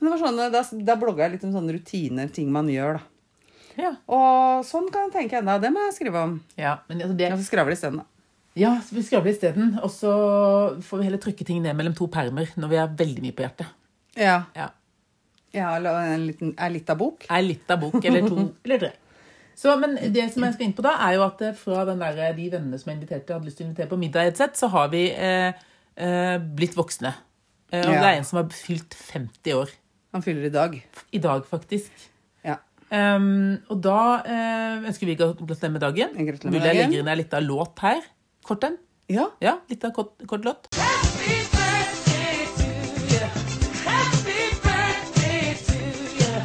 [SPEAKER 1] Men det var sånn, da, da blogga jeg litt om sånne rutiner, ting man gjør, da.
[SPEAKER 2] Ja.
[SPEAKER 1] Og sånn kan jeg tenke enda. Det må jeg skrive om.
[SPEAKER 2] ja. Men altså,
[SPEAKER 1] Og
[SPEAKER 2] det
[SPEAKER 1] så skravle isteden, da.
[SPEAKER 2] Ja, så vi skravler isteden. Og så får vi heller trykke ting ned mellom to permer når vi har veldig mye på hjertet.
[SPEAKER 1] Ja.
[SPEAKER 2] Ja.
[SPEAKER 1] Jeg har la- en liten, er litt av bok.
[SPEAKER 2] er litt av bok, eller to, eller tre. Så, men det som jeg skal inn på da, er jo at eh, fra den der, de vennene som jeg inviterte, hadde lyst til å invitere på middag i et sett, så har vi eh, eh, blitt voksne. Eh, og
[SPEAKER 1] Ja.
[SPEAKER 2] det er en som har fylt 50 år.
[SPEAKER 1] Han fyller i dag.
[SPEAKER 2] I dag, faktisk.
[SPEAKER 1] Ja.
[SPEAKER 2] Em, og da eh, ønsker vi gra- gratulerer med dagen.
[SPEAKER 1] Gratulerer med
[SPEAKER 2] Mulig jeg
[SPEAKER 1] dagen.
[SPEAKER 2] legger inn en liten låt her. Kort en.
[SPEAKER 1] Ja.
[SPEAKER 2] Ja, litt av kort, kort låt.
[SPEAKER 5] Happy birthday to you. Happy birthday to you.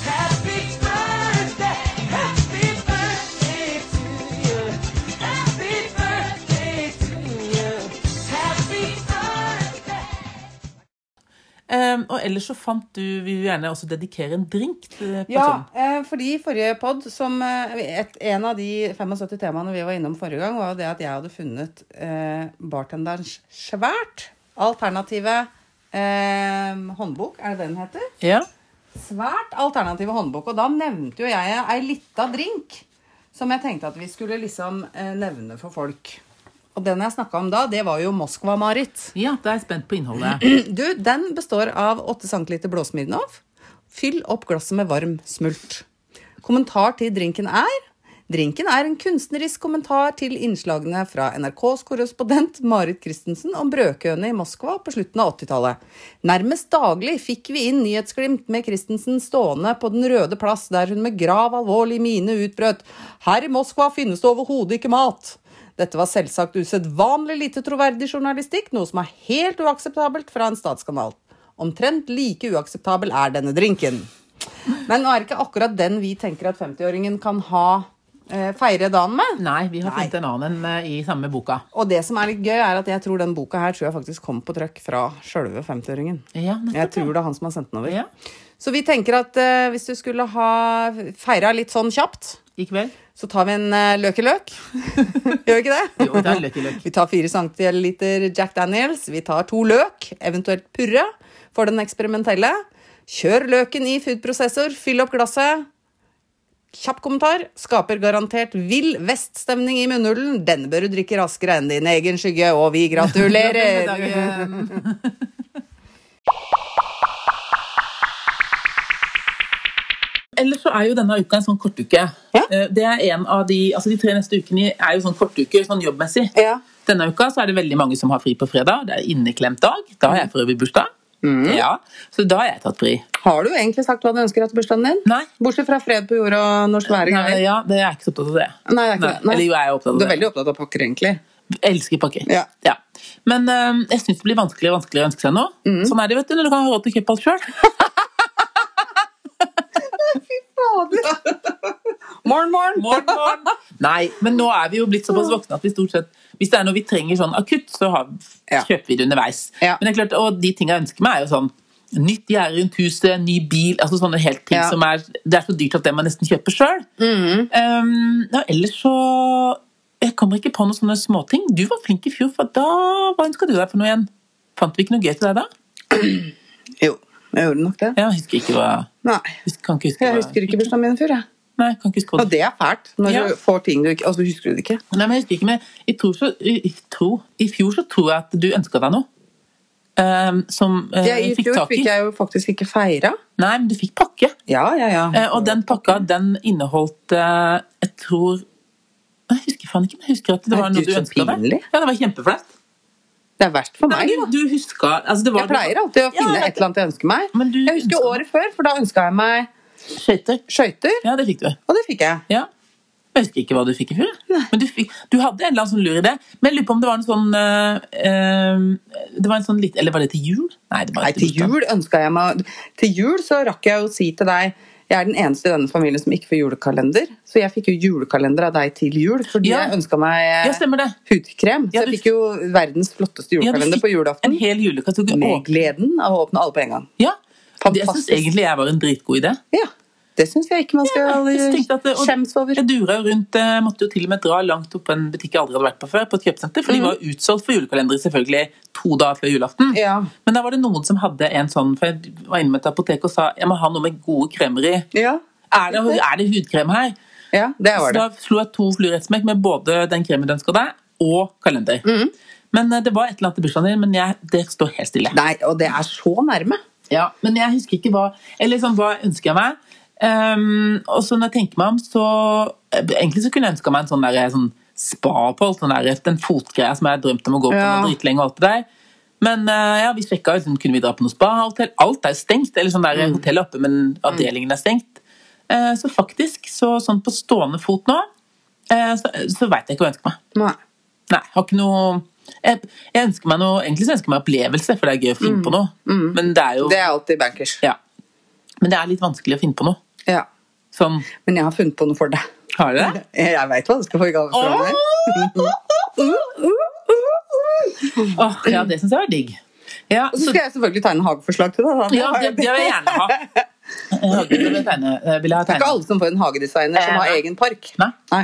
[SPEAKER 5] Happy birthday. Happy birthday to you. Happy birthday to you. Happy birthday.
[SPEAKER 2] Em, og ellers så fant du Vi vil gjerne også dedikere en drink til
[SPEAKER 1] Ja,
[SPEAKER 2] personen.
[SPEAKER 1] eh, fordi i forrige pod, som eh, et, en av de 75 temaene vi var innom forrige gang, var jo det at jeg hadde funnet eh, bartenderens svært alternative eh, håndbok, er det det den heter?
[SPEAKER 2] Ja.
[SPEAKER 1] Svært alternative håndbok. Og da nevnte jo jeg ei lita drink som jeg tenkte at vi skulle liksom eh, nevne for folk. Og den jeg snakka om da, det var jo Moskva-Marit.
[SPEAKER 2] ja, da er jeg spent på innholdet.
[SPEAKER 1] Du, den består av 8 cm blåsmiddelnov. Fyll opp glasset med varm smult. Kommentar til drinken er Drinken er en kunstnerisk kommentar til innslagene fra NRKs korrespondent Marit Christensen om brødkøene i Moskva på slutten av 80-tallet. Nærmest daglig fikk vi inn nyhetsglimt med Christensen stående på Den røde plass, der hun med grav alvorlig mine utbrøt Her i Moskva finnes det overhodet ikke mat! Dette var selvsagt usedvanlig lite troverdig journalistikk, noe som er helt uakseptabelt fra en statskanal. Omtrent like uakseptabel er denne drinken. Men nå er det ikke akkurat den vi tenker at 50-åringen kan ha eh, feire dagen med.
[SPEAKER 2] Nei, vi har funnet en annen en eh, i samme boka.
[SPEAKER 1] Og det som er litt gøy, er at jeg tror den boka her tror jeg faktisk kom på trøkk fra sjølve 50-åringen.
[SPEAKER 2] Ja, nettopp,
[SPEAKER 1] jeg tror det er han som har sendt den over.
[SPEAKER 2] Ja.
[SPEAKER 1] Så vi tenker at eh, hvis du skulle ha feira litt sånn kjapt,
[SPEAKER 2] I kveld.
[SPEAKER 1] så tar vi en uh, løkeløk. Gjør vi ikke det?
[SPEAKER 2] Jo, vi tar en løk i løk.
[SPEAKER 1] Vi tar fire centiliter Jack Daniels. Vi tar to løk, eventuelt purre, for den eksperimentelle. Kjør løken i foodprosessor, fyll opp glasset. Kjapp kommentar. Skaper garantert vill veststemning i munnhulen. Denne bør du drikke raskere enn din egen skygge, og vi gratulerer!
[SPEAKER 2] Ellers så er jo denne uka en sånn kortuke.
[SPEAKER 1] Ja.
[SPEAKER 2] Eh, Det er en av De altså de tre neste ukene er jo sånn kortuker sånn jobbmessig.
[SPEAKER 1] Ja.
[SPEAKER 2] Denne uka så er det veldig mange som har fri på fredag. Det er inneklemt dag. Da har jeg
[SPEAKER 1] Mm.
[SPEAKER 2] for øvrig bursdag. Ja, så da har jeg tatt fri.
[SPEAKER 1] Har du egentlig sagt hva du ønsker deg til bursdagen din?
[SPEAKER 2] Nei.
[SPEAKER 1] Bortsett fra fred på jord og norsk vær og
[SPEAKER 2] Nei,
[SPEAKER 1] greier.
[SPEAKER 2] ja, det er jeg ikke så opptatt av det.
[SPEAKER 1] Nei, jeg er ikke det. Nei.
[SPEAKER 2] Eller jo, jeg er opptatt av
[SPEAKER 1] Du
[SPEAKER 2] det.
[SPEAKER 1] er veldig opptatt av pakker, egentlig.
[SPEAKER 2] Jeg elsker pakker.
[SPEAKER 1] Ja.
[SPEAKER 2] Men øhm, jeg syns det blir vanskeligere og vanskeligere å ønske seg noe.
[SPEAKER 1] Mm.
[SPEAKER 2] Sånn er det vet du, når du kan ha råd til å kjøpe alt sjøl.
[SPEAKER 1] Fader! morgen, morgen!
[SPEAKER 2] Nei, men nå er vi jo blitt såpass voksne at vi stort sett Hvis det er noe vi trenger sånn akutt, så har,
[SPEAKER 1] Ja.
[SPEAKER 2] kjøper vi det underveis.
[SPEAKER 1] Ja.
[SPEAKER 2] Men det er klart, Og de tinga jeg ønsker meg, er jo sånn Nytt gjerde rundt huset, ny bil altså sånne helt ting
[SPEAKER 1] Ja. Mm.
[SPEAKER 2] som er, Det er så dyrt at det må jeg nesten kjøpe sjøl. ellers så Jeg kommer ikke på noen sånne småting. Du var flink i fjor, for da Hva ønska du deg for noe igjen? Fant vi ikke noe gøy til deg da?
[SPEAKER 1] Jo, jeg gjorde nok det.
[SPEAKER 2] Jeg husker ikke hva
[SPEAKER 1] Nei.
[SPEAKER 2] husker, Kan ikke huske
[SPEAKER 1] Jeg
[SPEAKER 2] hva
[SPEAKER 1] husker ikke bursdagen min i fjor, jeg.
[SPEAKER 2] Nei, kan ikke huske hva
[SPEAKER 1] Og det er fælt, når
[SPEAKER 2] Ja.
[SPEAKER 1] du får ting du ikke Altså, husker du det ikke?
[SPEAKER 2] Nei, men jeg husker ikke, men jeg tror så, i, i, tro, i fjor så tror jeg at du ønska deg noe. ehm, som eh,
[SPEAKER 1] Jeg, I
[SPEAKER 2] fikk
[SPEAKER 1] fjor
[SPEAKER 2] tak i.
[SPEAKER 1] fikk jeg jo faktisk ikke feira.
[SPEAKER 2] Nei, men du fikk pakke.
[SPEAKER 1] Ja, ja, ja.
[SPEAKER 2] Eh, og den pakka, den inneholdt eh, Jeg tror Nei, Jeg husker faen ikke, men jeg husker at det
[SPEAKER 1] Nei,
[SPEAKER 2] var noe
[SPEAKER 1] gud,
[SPEAKER 2] du
[SPEAKER 1] så
[SPEAKER 2] ønska deg.
[SPEAKER 1] pinlig.
[SPEAKER 2] Ja, det var kjempeflaut.
[SPEAKER 1] Det er verst for
[SPEAKER 2] Nei,
[SPEAKER 1] meg. da.
[SPEAKER 2] Du huska altså, det var,
[SPEAKER 1] Jeg pleier alltid å
[SPEAKER 2] Ja,
[SPEAKER 1] finne
[SPEAKER 2] jeg vet
[SPEAKER 1] et eller annet jeg ønsker meg.
[SPEAKER 2] Men du
[SPEAKER 1] Jeg husker
[SPEAKER 2] ønsker-
[SPEAKER 1] året før, for da ønska jeg meg
[SPEAKER 2] Skøyter.
[SPEAKER 1] skøyter,
[SPEAKER 2] Ja, det fikk du.
[SPEAKER 1] og det fikk jeg.
[SPEAKER 2] Ja. Jeg husker ikke hva du fikk i fjor. jeg. Men du, fikk, du hadde en eller annen sånn lur idé. Men jeg lurer på om det var en sånn eh, eh, Det var en sånn litt Eller var det til jul? Nei, det
[SPEAKER 1] Nei,
[SPEAKER 2] var etter
[SPEAKER 1] til
[SPEAKER 2] bursdagen.
[SPEAKER 1] jul ønska jeg meg Til jul så rakk jeg å si til deg jeg er den eneste i denne familien som ikke får julekalender, så jeg fikk jo julekalender av deg til jul fordi
[SPEAKER 2] Ja.
[SPEAKER 1] jeg ønska meg eh,
[SPEAKER 2] Ja, stemmer det.
[SPEAKER 1] hudkrem. Så
[SPEAKER 2] Ja,
[SPEAKER 1] jeg
[SPEAKER 2] du-
[SPEAKER 1] fikk jo verdens flotteste
[SPEAKER 2] Ja, du
[SPEAKER 1] julekalender
[SPEAKER 2] fikk
[SPEAKER 1] på julaften.
[SPEAKER 2] En hel julekategori.
[SPEAKER 1] Med gleden av å åpne alle på en gang.
[SPEAKER 2] Ja. Det syns
[SPEAKER 1] Fantastisk.
[SPEAKER 2] egentlig jeg var en dritgod idé.
[SPEAKER 1] Ja, det syns jeg ikke man skal
[SPEAKER 2] Jeg tenkte at det- og
[SPEAKER 1] skjemmes over.
[SPEAKER 2] Jeg dura jo rundt, eh, måtte jo til og med dra langt opp på en butikk jeg aldri hadde vært på før, på et kjøpesenter, for de var utsolgt for julekalendere selvfølgelig to dager før julaften.
[SPEAKER 1] Mm. Ja.
[SPEAKER 2] Men da var det noen som hadde en sånn, for jeg var inne med et apotek og sa jeg må ha noe med gode kremer i.
[SPEAKER 1] Ja,
[SPEAKER 2] Er det, er det hudkrem her?
[SPEAKER 1] ja det var
[SPEAKER 2] Så
[SPEAKER 1] det.
[SPEAKER 2] da slo jeg to fluer i ett smekk med både den kremen du ønska deg, og kalender.
[SPEAKER 1] Mm.
[SPEAKER 2] Men eh, det var et eller annet i bursdagen din, men jeg, det står helt stille.
[SPEAKER 1] Nei, og det er så nærme.
[SPEAKER 2] Ja, men jeg husker ikke hva Eller sånn, hva ønsker jeg meg? Ehm, og så når jeg tenker meg om, så Egentlig så kunne jeg ønska meg en sånn der, sånn spa-poll, sånn der, den fotgreia som jeg har drømt om å gå på
[SPEAKER 1] Ja.
[SPEAKER 2] nå dritlenge. og alt det der. Men eh, ja, vi sjekka ut, sånn, kunne vi dra på noe spa-hotell? Alt er jo stengt. Eller sånn der, hotellet er oppe, men avdelingen er stengt. Eh, så faktisk, så sånn på stående fot nå, eh, så, så veit jeg ikke hva jeg ønsker meg.
[SPEAKER 1] Nei.
[SPEAKER 2] Nei, jeg har ikke noe jeg, jeg ønsker meg noe, Egentlig så ønsker jeg meg opplevelse, for det er gøy å finne på noe. Men det er jo
[SPEAKER 1] Det er alltid bankers.
[SPEAKER 2] ja. Men det er litt vanskelig å finne på noe.
[SPEAKER 1] Ja.
[SPEAKER 2] Sånn,
[SPEAKER 1] Men jeg har funnet på noe for deg.
[SPEAKER 2] har du det?
[SPEAKER 1] Jeg veit hva du skal få i gave fra meg.
[SPEAKER 2] Åh, ja, det syns jeg var digg. Ja,
[SPEAKER 1] Og så
[SPEAKER 2] så,
[SPEAKER 1] skal jeg selvfølgelig tegne hageforslag til deg. Da.
[SPEAKER 2] ja det, det vil jeg gjerne ha. Jeg vil jeg tegne, jeg vil ha
[SPEAKER 1] Det er ikke
[SPEAKER 2] tegne.
[SPEAKER 1] alle som får en hagedesigner som har
[SPEAKER 2] Nei.
[SPEAKER 1] egen park.
[SPEAKER 2] Nei,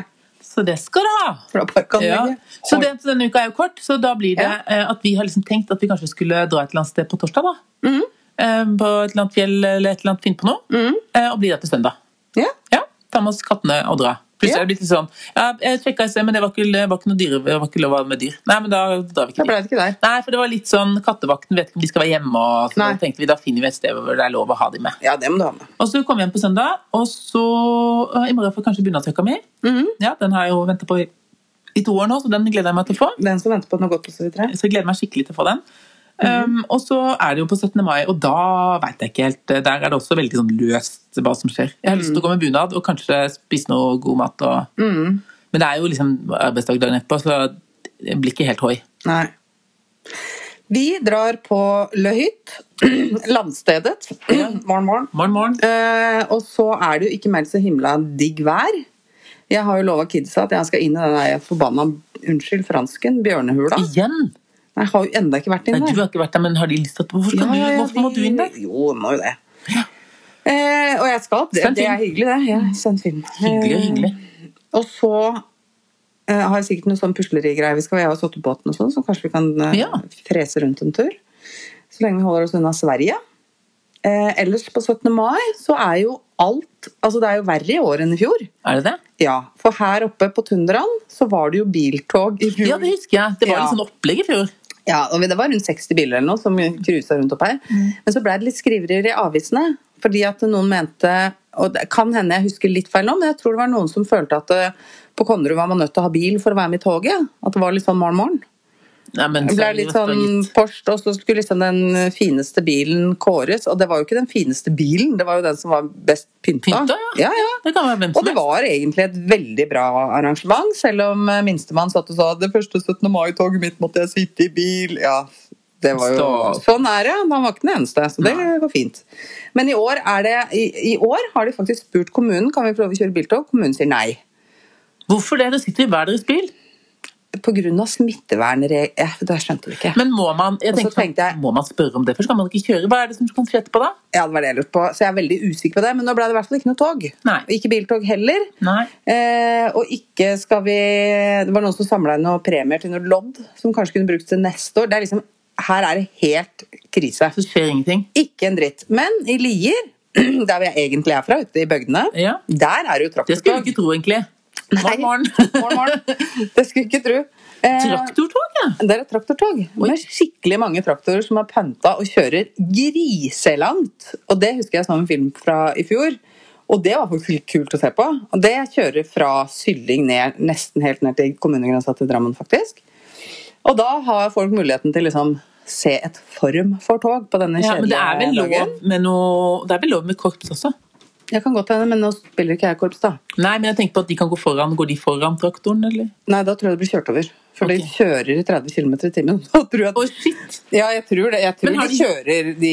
[SPEAKER 2] så det skal du ha.
[SPEAKER 1] for da parkanlegget.
[SPEAKER 2] Ja. Så den, så denne uka er jo kort, så da blir det
[SPEAKER 1] Ja.
[SPEAKER 2] eh, at vi har liksom tenkt at vi kanskje skulle dra et eller annet sted på torsdag. da.
[SPEAKER 1] Mm.
[SPEAKER 2] Eh, På et eller annet fjell eller et eller annet finne på noe. Eh, Og bli der til søndag.
[SPEAKER 1] Ja.
[SPEAKER 2] Ja, ta med oss kattene og dra. Plutselig
[SPEAKER 1] Ja.
[SPEAKER 2] er det blitt litt sånn ja, Jeg sjekka i sted, men det var ikke, det var ikke noe dyre, det var ikke lov å ha med dyr. Nei, men da drar
[SPEAKER 1] Da
[SPEAKER 2] vi ikke.
[SPEAKER 1] ble det ikke der.
[SPEAKER 2] Nei, for det var litt sånn Kattevakten vet ikke om de skal være hjemme, og så
[SPEAKER 1] Nei.
[SPEAKER 2] tenkte vi da finner vi et sted hvor det er lov å ha de med.
[SPEAKER 1] Ja, det må du ha med.
[SPEAKER 2] Og så kom vi hjem på søndag, og så øh, I morgen får jeg kanskje bunadsjakka mi.
[SPEAKER 1] Mhm.
[SPEAKER 2] Ja, den har jeg jo venta på i, i to år nå, så den gleder jeg meg til å få.
[SPEAKER 1] Den som venter på noe godt og så videre.
[SPEAKER 2] Så jeg gleder meg skikkelig til å få den.
[SPEAKER 1] Mhm.
[SPEAKER 2] Um, og så er det jo på 17. mai, og da veit jeg ikke helt. Der er det også
[SPEAKER 1] Mhm.
[SPEAKER 2] veldig sånn løst hva som skjer. Jeg har lyst til å gå med bunad og kanskje spise noe god mat og Men det er jo liksom arbeidsdag dagen etterpå, så jeg blir ikke helt høy.
[SPEAKER 1] Nei. Vi drar på Le Hytt, landstedet. morgen, morgen.
[SPEAKER 2] Morgen, morgen.
[SPEAKER 1] Eh, og så er det jo ikke meldt så himla digg vær. Jeg har jo lova kidsa at jeg skal inn i den der forbanna unnskyld, fransken, bjørnehula.
[SPEAKER 2] Igjen?
[SPEAKER 1] Nei, Jeg har jo enda ikke vært
[SPEAKER 2] Nei,
[SPEAKER 1] inne.
[SPEAKER 2] du har ikke vært der, men har de lyst til at Hvorfor, skal du, hvorfor må du inn der?
[SPEAKER 1] Jo, må jo det. Eh, og jeg skal. Det,
[SPEAKER 2] Send
[SPEAKER 1] det er
[SPEAKER 2] film.
[SPEAKER 1] hyggelig, det. Ja, send film.
[SPEAKER 2] Hyggelig,
[SPEAKER 1] Eh,
[SPEAKER 2] hyggelig.
[SPEAKER 1] Og så eh, har jeg sikkert noen sånn puslerigreier vi skal ha hos Ottebåten og sånn, så kanskje vi kan eh,
[SPEAKER 2] Ja.
[SPEAKER 1] frese rundt en tur. Så lenge vi holder oss unna Sverige. Eh, ellers på 17. mai så er jo alt Altså det er jo verre i år enn i fjor.
[SPEAKER 2] Er det det?
[SPEAKER 1] Ja, for her oppe på tundraen så var det jo biltog i fjor.
[SPEAKER 2] Ja, det husker jeg. Det var
[SPEAKER 1] Ja.
[SPEAKER 2] litt sånn opplegg i fjor.
[SPEAKER 1] Ja, og det var rundt 60 biler eller noe som cruisa rundt opp her. Men så ble det litt skriverier i avisene. Fordi at noen mente Og det kan hende jeg husker litt feil nå, men jeg tror det var noen som følte at eh, på Konnerud var man nødt til å ha bil for å være med i toget. At det var litt sånn morgen-morgen.
[SPEAKER 2] Nei, men
[SPEAKER 1] Det ble
[SPEAKER 2] så-
[SPEAKER 1] litt sånn
[SPEAKER 2] gitt.
[SPEAKER 1] forst, og så skulle liksom den fineste bilen kåres. Og det var jo ikke den fineste bilen, det var jo den som var best pynta.
[SPEAKER 2] Pynta,
[SPEAKER 1] ja. ja,
[SPEAKER 2] Det kan være hvem
[SPEAKER 1] og
[SPEAKER 2] som
[SPEAKER 1] det
[SPEAKER 2] helst.
[SPEAKER 1] var egentlig et veldig bra arrangement, selv om eh, minstemann satt og sa det første 17. mai-toget mitt måtte jeg sitte i bil. Ja, det var jo
[SPEAKER 2] Stopp.
[SPEAKER 1] Sånn er det. Han var ikke den eneste, så det går fint. Men i år, er det, i, i år har de faktisk spurt kommunen kan vi prøve å kjøre biltog. Kommunen sier nei.
[SPEAKER 2] Hvorfor det? Dere sitter i hver deres bil.
[SPEAKER 1] Pga. smittevernregler Jeg jeg skjønte det ikke.
[SPEAKER 2] Men må man, jeg
[SPEAKER 1] Og så
[SPEAKER 2] tenkte, sånn,
[SPEAKER 1] tenkte jeg-
[SPEAKER 2] må man spørre om det først? Kan man ikke kjøre? Hva er det som kan skje etterpå da?
[SPEAKER 1] Ja, det var det jeg lurte på. Så jeg er veldig usikker på det. Men nå ble det i hvert fall ikke noe tog.
[SPEAKER 2] Nei.
[SPEAKER 1] Ikke biltog heller.
[SPEAKER 2] Nei.
[SPEAKER 1] Eh, og ikke skal vi Det var noen som samla inn noen premier til noen lodd som kanskje kunne brukes til neste år. Det er liksom, her er det helt krise.
[SPEAKER 2] Så skjer ingenting.
[SPEAKER 1] Ikke en dritt. Men i Lier, der vi egentlig er fra, ute i bygdene,
[SPEAKER 2] Ja.
[SPEAKER 1] der er det jo
[SPEAKER 2] Det skulle
[SPEAKER 1] traktortog.
[SPEAKER 2] du ikke tro, egentlig. Morgen,
[SPEAKER 1] Morgen,
[SPEAKER 2] morgen.
[SPEAKER 1] morgen. Det skulle ikke tro. Eh,
[SPEAKER 2] Traktortog, ja.
[SPEAKER 1] det er et traktortog med skikkelig mange traktorer som er pønta og kjører griselangt. Og det husker jeg så en film fra i fjor. Og det var faktisk litt kult å se på. Og det kjører fra Sylling ned, nesten helt ned til kommunegrensa til Drammen, faktisk. Og da har folk muligheten til liksom se et form for tog på denne
[SPEAKER 2] ja. Men det
[SPEAKER 1] kjedelige
[SPEAKER 2] er vel
[SPEAKER 1] dagen.
[SPEAKER 2] lov med noe Det er vel lov med korps også?
[SPEAKER 1] Jeg kan godt hende, men nå spiller ikke jeg korps, da.
[SPEAKER 2] Nei, men jeg tenker på at de kan gå foran. Går de foran traktoren, eller?
[SPEAKER 1] Nei, da tror jeg det blir kjørt over. For
[SPEAKER 2] Ok.
[SPEAKER 1] de kjører i 30 km i timen. Da tror jeg at
[SPEAKER 2] Å, shit!
[SPEAKER 1] Ja, jeg tror det. Jeg tror
[SPEAKER 2] Men har
[SPEAKER 1] de,
[SPEAKER 2] de-
[SPEAKER 1] kjører de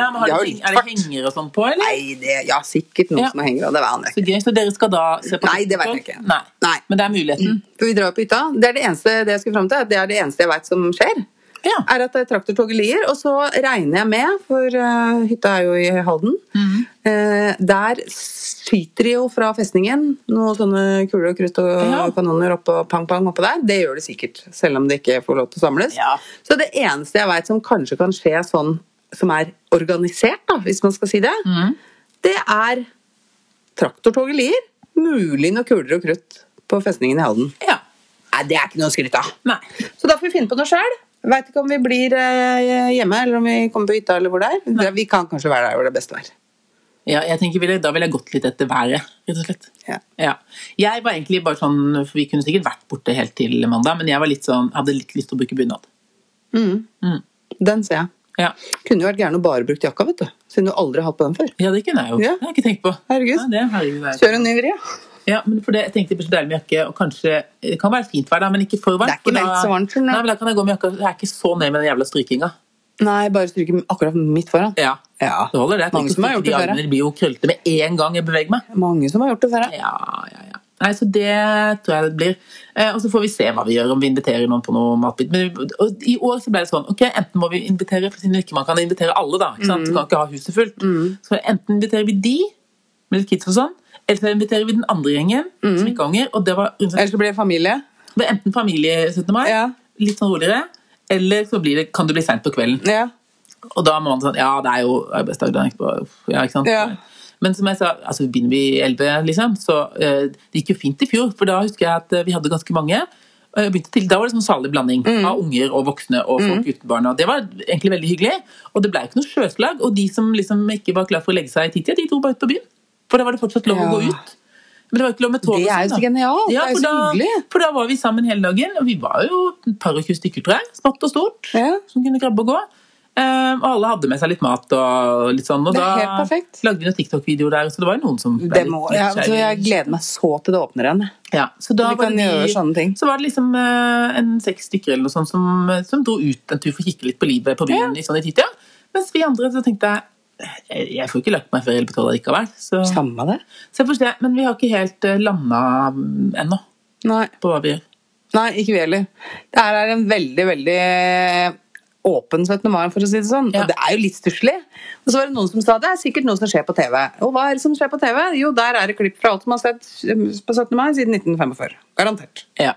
[SPEAKER 2] Ja, men
[SPEAKER 1] Eh, de har
[SPEAKER 2] har de,
[SPEAKER 1] jo
[SPEAKER 2] heng-
[SPEAKER 1] litt
[SPEAKER 2] er det
[SPEAKER 1] fart.
[SPEAKER 2] henger og sånn på, eller?
[SPEAKER 1] Nei, det, ja, sikkert noen
[SPEAKER 2] Ja.
[SPEAKER 1] som henger, og det aner jeg ikke.
[SPEAKER 2] Så gøy. Så dere skal da se på
[SPEAKER 1] Nei, det vet jeg ikke.
[SPEAKER 2] traktortog? Nei.
[SPEAKER 1] Nei. Mm.
[SPEAKER 2] Men det er muligheten.
[SPEAKER 1] For vi drar jo på hytta. Det er det eneste det jeg skulle fram til. Det er det eneste jeg veit som skjer.
[SPEAKER 2] Ja.
[SPEAKER 1] Er at det er traktortoget Lier. Og så regner jeg med, for eh, hytta er jo i Halden
[SPEAKER 2] Mhm.
[SPEAKER 1] eh, Der skyter de jo fra festningen noen sånne kuler og krutt og
[SPEAKER 2] Ja.
[SPEAKER 1] kanoner oppå pang-pang oppå der. Det gjør de sikkert, selv om det ikke får lov til å samles.
[SPEAKER 2] Ja.
[SPEAKER 1] Så det eneste jeg veit som kanskje kan skje sånn, som er organisert, da, hvis man skal si det,
[SPEAKER 2] Mhm.
[SPEAKER 1] det er traktortoget Lier. Mulig noen kuler og krutt på festningen i Halden.
[SPEAKER 2] ja.
[SPEAKER 1] Nei, det er ikke noe å skryte av.
[SPEAKER 2] Nei.
[SPEAKER 1] Så da får vi finne på noe sjøl. Veit ikke om vi blir eh, hjemme, eller om vi kommer på hytta, eller hvor det er. Vi kan kanskje være der hvor det er best vær.
[SPEAKER 2] Ja, jeg tenker, ville- Da ville jeg gått litt etter været, rett og slett.
[SPEAKER 1] Ja.
[SPEAKER 2] Ja. Jeg var egentlig bare sånn, for Vi kunne sikkert vært borte helt til mandag, men jeg var litt sånn, hadde litt lyst til å bruke bunad.
[SPEAKER 1] Mm.
[SPEAKER 2] Mm.
[SPEAKER 1] Den ser jeg.
[SPEAKER 2] Ja.
[SPEAKER 1] Kunne jo vært gæren å bare brukt jakka, vet du. Siden du aldri har hatt på den før.
[SPEAKER 2] ja, det kunne jeg jo.
[SPEAKER 1] Ja.
[SPEAKER 2] Det har jeg ikke tenkt på.
[SPEAKER 1] Herregud.
[SPEAKER 2] Ja, det, herregud, det er-
[SPEAKER 1] Kjør en ny vri. ja.
[SPEAKER 2] Ja, men for det, jeg tenkte det blir så deilig med jakke, og kanskje Det kan være fint vær, da, men ikke for
[SPEAKER 1] Det
[SPEAKER 2] varmt.
[SPEAKER 1] er ikke
[SPEAKER 2] for da-
[SPEAKER 1] meldt så varmt, skjønner du.
[SPEAKER 2] Nei, men da kan jeg gå med jakka. Jeg er ikke så nøye med den jævla strykinga.
[SPEAKER 1] Nei, bare stryke akkurat midt foran.
[SPEAKER 2] Ja.
[SPEAKER 1] Ja.
[SPEAKER 2] Det holder, det. Jeg
[SPEAKER 1] Mange
[SPEAKER 2] tenker
[SPEAKER 1] som har
[SPEAKER 2] ikke
[SPEAKER 1] gjort det
[SPEAKER 2] de
[SPEAKER 1] før, ja.
[SPEAKER 2] armene blir jo krøllete med en gang jeg beveger meg.
[SPEAKER 1] Mange som har gjort det før. ja.
[SPEAKER 2] Ja, ja, ja. Nei, så det tror jeg det blir. Eh, og så får vi se hva vi gjør, om vi inviterer noen på noe matbit. Men vi- og i år så ble det sånn, ok, enten må vi invitere, for siden ikke man kan invitere alle da, ikke sant? Du kan ikke ha huset fullt. Så enten inviterer vi de, med litt kids og sånn, eller så inviterer vi den andre gjengen, som ikke har unger, og det var uansett
[SPEAKER 1] Ellers så blir det familie.
[SPEAKER 2] Det er enten familie 17. mai,
[SPEAKER 1] Ja.
[SPEAKER 2] litt sånn roligere, eller så blir det, kan det bli sent på kvelden.
[SPEAKER 1] Ja.
[SPEAKER 2] Og da må man sånn Ja, det er jo arbeidsdag dagen etterpå. Ja, ikke sant?
[SPEAKER 1] Ja.
[SPEAKER 2] Men som jeg sa, altså begynner vi i 11, liksom, så eh, det gikk jo fint i fjor. For da husker jeg at eh, vi hadde ganske mange. og jeg begynte til, Da var det sånn salig blanding
[SPEAKER 1] Mm.
[SPEAKER 2] av unger og voksne og folk uten barn. Og det var egentlig veldig hyggelig. Og det ble jo ikke noe sjøslag. Og de som liksom ikke var klar for å legge seg i titida, de dro bare ut på byen. For da var det fortsatt lov å
[SPEAKER 1] Ja.
[SPEAKER 2] gå ut. Men det var ikke lov med tog. og
[SPEAKER 1] Det er
[SPEAKER 2] sånn,
[SPEAKER 1] jo så
[SPEAKER 2] da.
[SPEAKER 1] genialt.
[SPEAKER 2] Ja,
[SPEAKER 1] det er jo
[SPEAKER 2] for
[SPEAKER 1] så hyggelig.
[SPEAKER 2] da, for da var vi sammen hele dagen, og vi var jo et par og tjue stykker, tror jeg. Smått og stort.
[SPEAKER 1] Ja.
[SPEAKER 2] Som kunne grabbe og gå. Eh, og alle hadde med seg litt mat og litt sånn. Og
[SPEAKER 6] Det er
[SPEAKER 2] da
[SPEAKER 6] helt perfekt.
[SPEAKER 2] lagde vi noen TikTok-videoer der, så det var jo noen som ble
[SPEAKER 1] Det må, ja,
[SPEAKER 2] nysgjerrig.
[SPEAKER 1] så jeg gleder meg så til det åpner igjen.
[SPEAKER 2] Ja, så da
[SPEAKER 1] Vi kan
[SPEAKER 2] var det
[SPEAKER 1] gjøre sånne ting.
[SPEAKER 2] Så var det liksom eh, en seks stykker eller noe sånt som, eh, som dro ut en tur for å kikke litt på livet på byen i sånn i tida. Mens vi andre så tenkte jeg eh, jeg får ikke lagt meg før elleve på tolv likevel. Så, så
[SPEAKER 1] Samme det.
[SPEAKER 2] jeg forstår, det, men vi har ikke helt eh, landa mm, ennå
[SPEAKER 1] Nei.
[SPEAKER 2] på hva vi gjør.
[SPEAKER 1] Nei, ikke vi heller. Det her er en veldig, veldig eh, åpen 17. mai, for å si det sånn.
[SPEAKER 2] Ja.
[SPEAKER 1] Og det er jo litt stusslig. Og så var det noen som sa det er sikkert noe som skjer på TV. Og hva er det som skjer på TV? Jo, der er det klipp fra alt som har sett eh, på 17. mai siden 1945. Garantert.
[SPEAKER 2] Ja.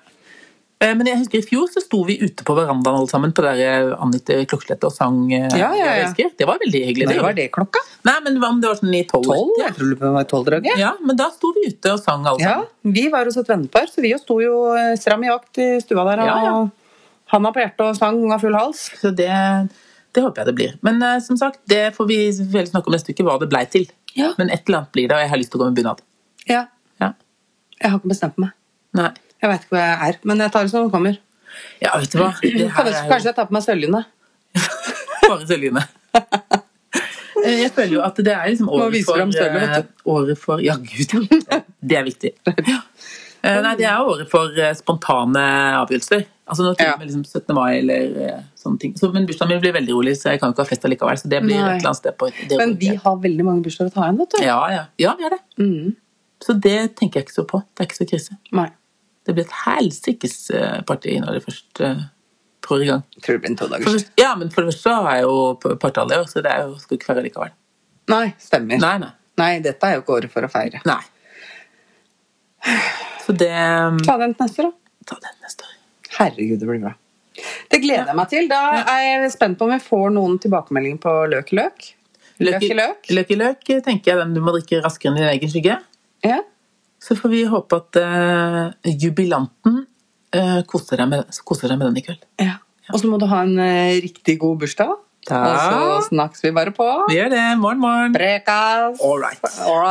[SPEAKER 2] Eh, Men jeg husker i fjor så sto vi ute på verandaen alle sammen på der eh, Annitte Klokkeslett og sang. eh,
[SPEAKER 1] Ja, ja, ja.
[SPEAKER 2] «Jeg elsker». Det var veldig hyggelig.
[SPEAKER 1] Når var det klokka?
[SPEAKER 2] Nei, men hva om det var sånn i tolv?
[SPEAKER 1] Tolv? Jeg tror det var tolvdraget.
[SPEAKER 2] Ja, men da sto vi ute og sang alle
[SPEAKER 1] Ja,
[SPEAKER 2] sammen.
[SPEAKER 1] vi var hos et vennepar, så vi jo sto jo eh, stram i vakt i stua der.
[SPEAKER 2] Ja, ja.
[SPEAKER 1] Og handa på hjertet og sang av full hals.
[SPEAKER 2] Så det, det håper jeg det blir. Men eh, som sagt, det får vi vel snakke om neste uke, hva det blei til.
[SPEAKER 1] Ja.
[SPEAKER 2] Men et eller annet blir det, og jeg har lyst til å gå med bunad.
[SPEAKER 1] Ja,
[SPEAKER 2] Ja.
[SPEAKER 1] jeg har ikke bestemt meg.
[SPEAKER 2] Nei.
[SPEAKER 1] Jeg veit ikke hvor jeg er, men jeg tar det som det kommer.
[SPEAKER 2] Ja, vet du hva? Det her
[SPEAKER 1] Kanskje,
[SPEAKER 2] er
[SPEAKER 1] kanskje jeg tar på meg sølvlynet.
[SPEAKER 2] jo bare Celine. Eh, Jeg føler jo at det er liksom
[SPEAKER 1] Må
[SPEAKER 2] året
[SPEAKER 1] vise
[SPEAKER 2] for,
[SPEAKER 1] frem støvler,
[SPEAKER 2] eh,
[SPEAKER 1] vet
[SPEAKER 2] året for Ja, gud, ja. Det er viktig. Ja. Eh, Nei, det er året for eh, spontane avgjørelser. Altså nå
[SPEAKER 1] Ja.
[SPEAKER 2] til og med liksom 17. mai eller eh, sånne ting. Så, men bursdagen min blir veldig rolig, så jeg kan ikke ha fest allikevel. Så det blir
[SPEAKER 1] Nei.
[SPEAKER 2] et eller annet sted på det
[SPEAKER 1] Men
[SPEAKER 2] året.
[SPEAKER 1] vi har veldig mange bursdager å ta igjen, vet du.
[SPEAKER 2] Ja, ja. ja, vi har det.
[SPEAKER 1] Mm.
[SPEAKER 2] Så det tenker jeg ikke så på. Det er ikke så krise.
[SPEAKER 1] Nei.
[SPEAKER 2] Det blir et helsikes eh, party når det først eh, trår i gang.
[SPEAKER 1] Jeg tror det blir en
[SPEAKER 2] For det
[SPEAKER 1] todagers.
[SPEAKER 2] første, ja, men for det første så har jeg jo p- partall i år, så det er jo, skal ikke feire likevel.
[SPEAKER 1] Nei, stemmer.
[SPEAKER 2] Nei, nei.
[SPEAKER 1] Nei, dette er jo ikke året for å feire.
[SPEAKER 2] nei. Så det um,
[SPEAKER 1] Ta den til neste år, da.
[SPEAKER 2] Ta den neste år.
[SPEAKER 1] Herregud, det blir bra. Det gleder jeg meg til. Da er jeg spent på om vi får noen tilbakemeldinger på Løk i løk. Løk i løk.
[SPEAKER 2] Løk i løk, eh, tenker jeg den du må drikke raskere enn din egen skygge.
[SPEAKER 1] Ja.
[SPEAKER 2] Så får vi håpe at eh, jubilanten eh, koser, deg med, koser deg med den i kveld.
[SPEAKER 1] Ja. Og så må du ha en eh, riktig god bursdag.
[SPEAKER 2] Takk.
[SPEAKER 1] Og så snakkes vi bare på.
[SPEAKER 2] Vi gjør det. Morgen, morgen.
[SPEAKER 1] Prekas!
[SPEAKER 2] All right.
[SPEAKER 1] All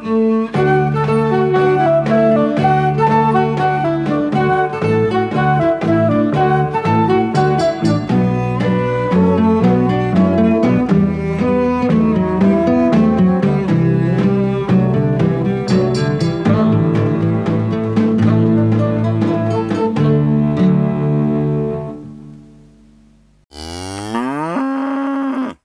[SPEAKER 1] right.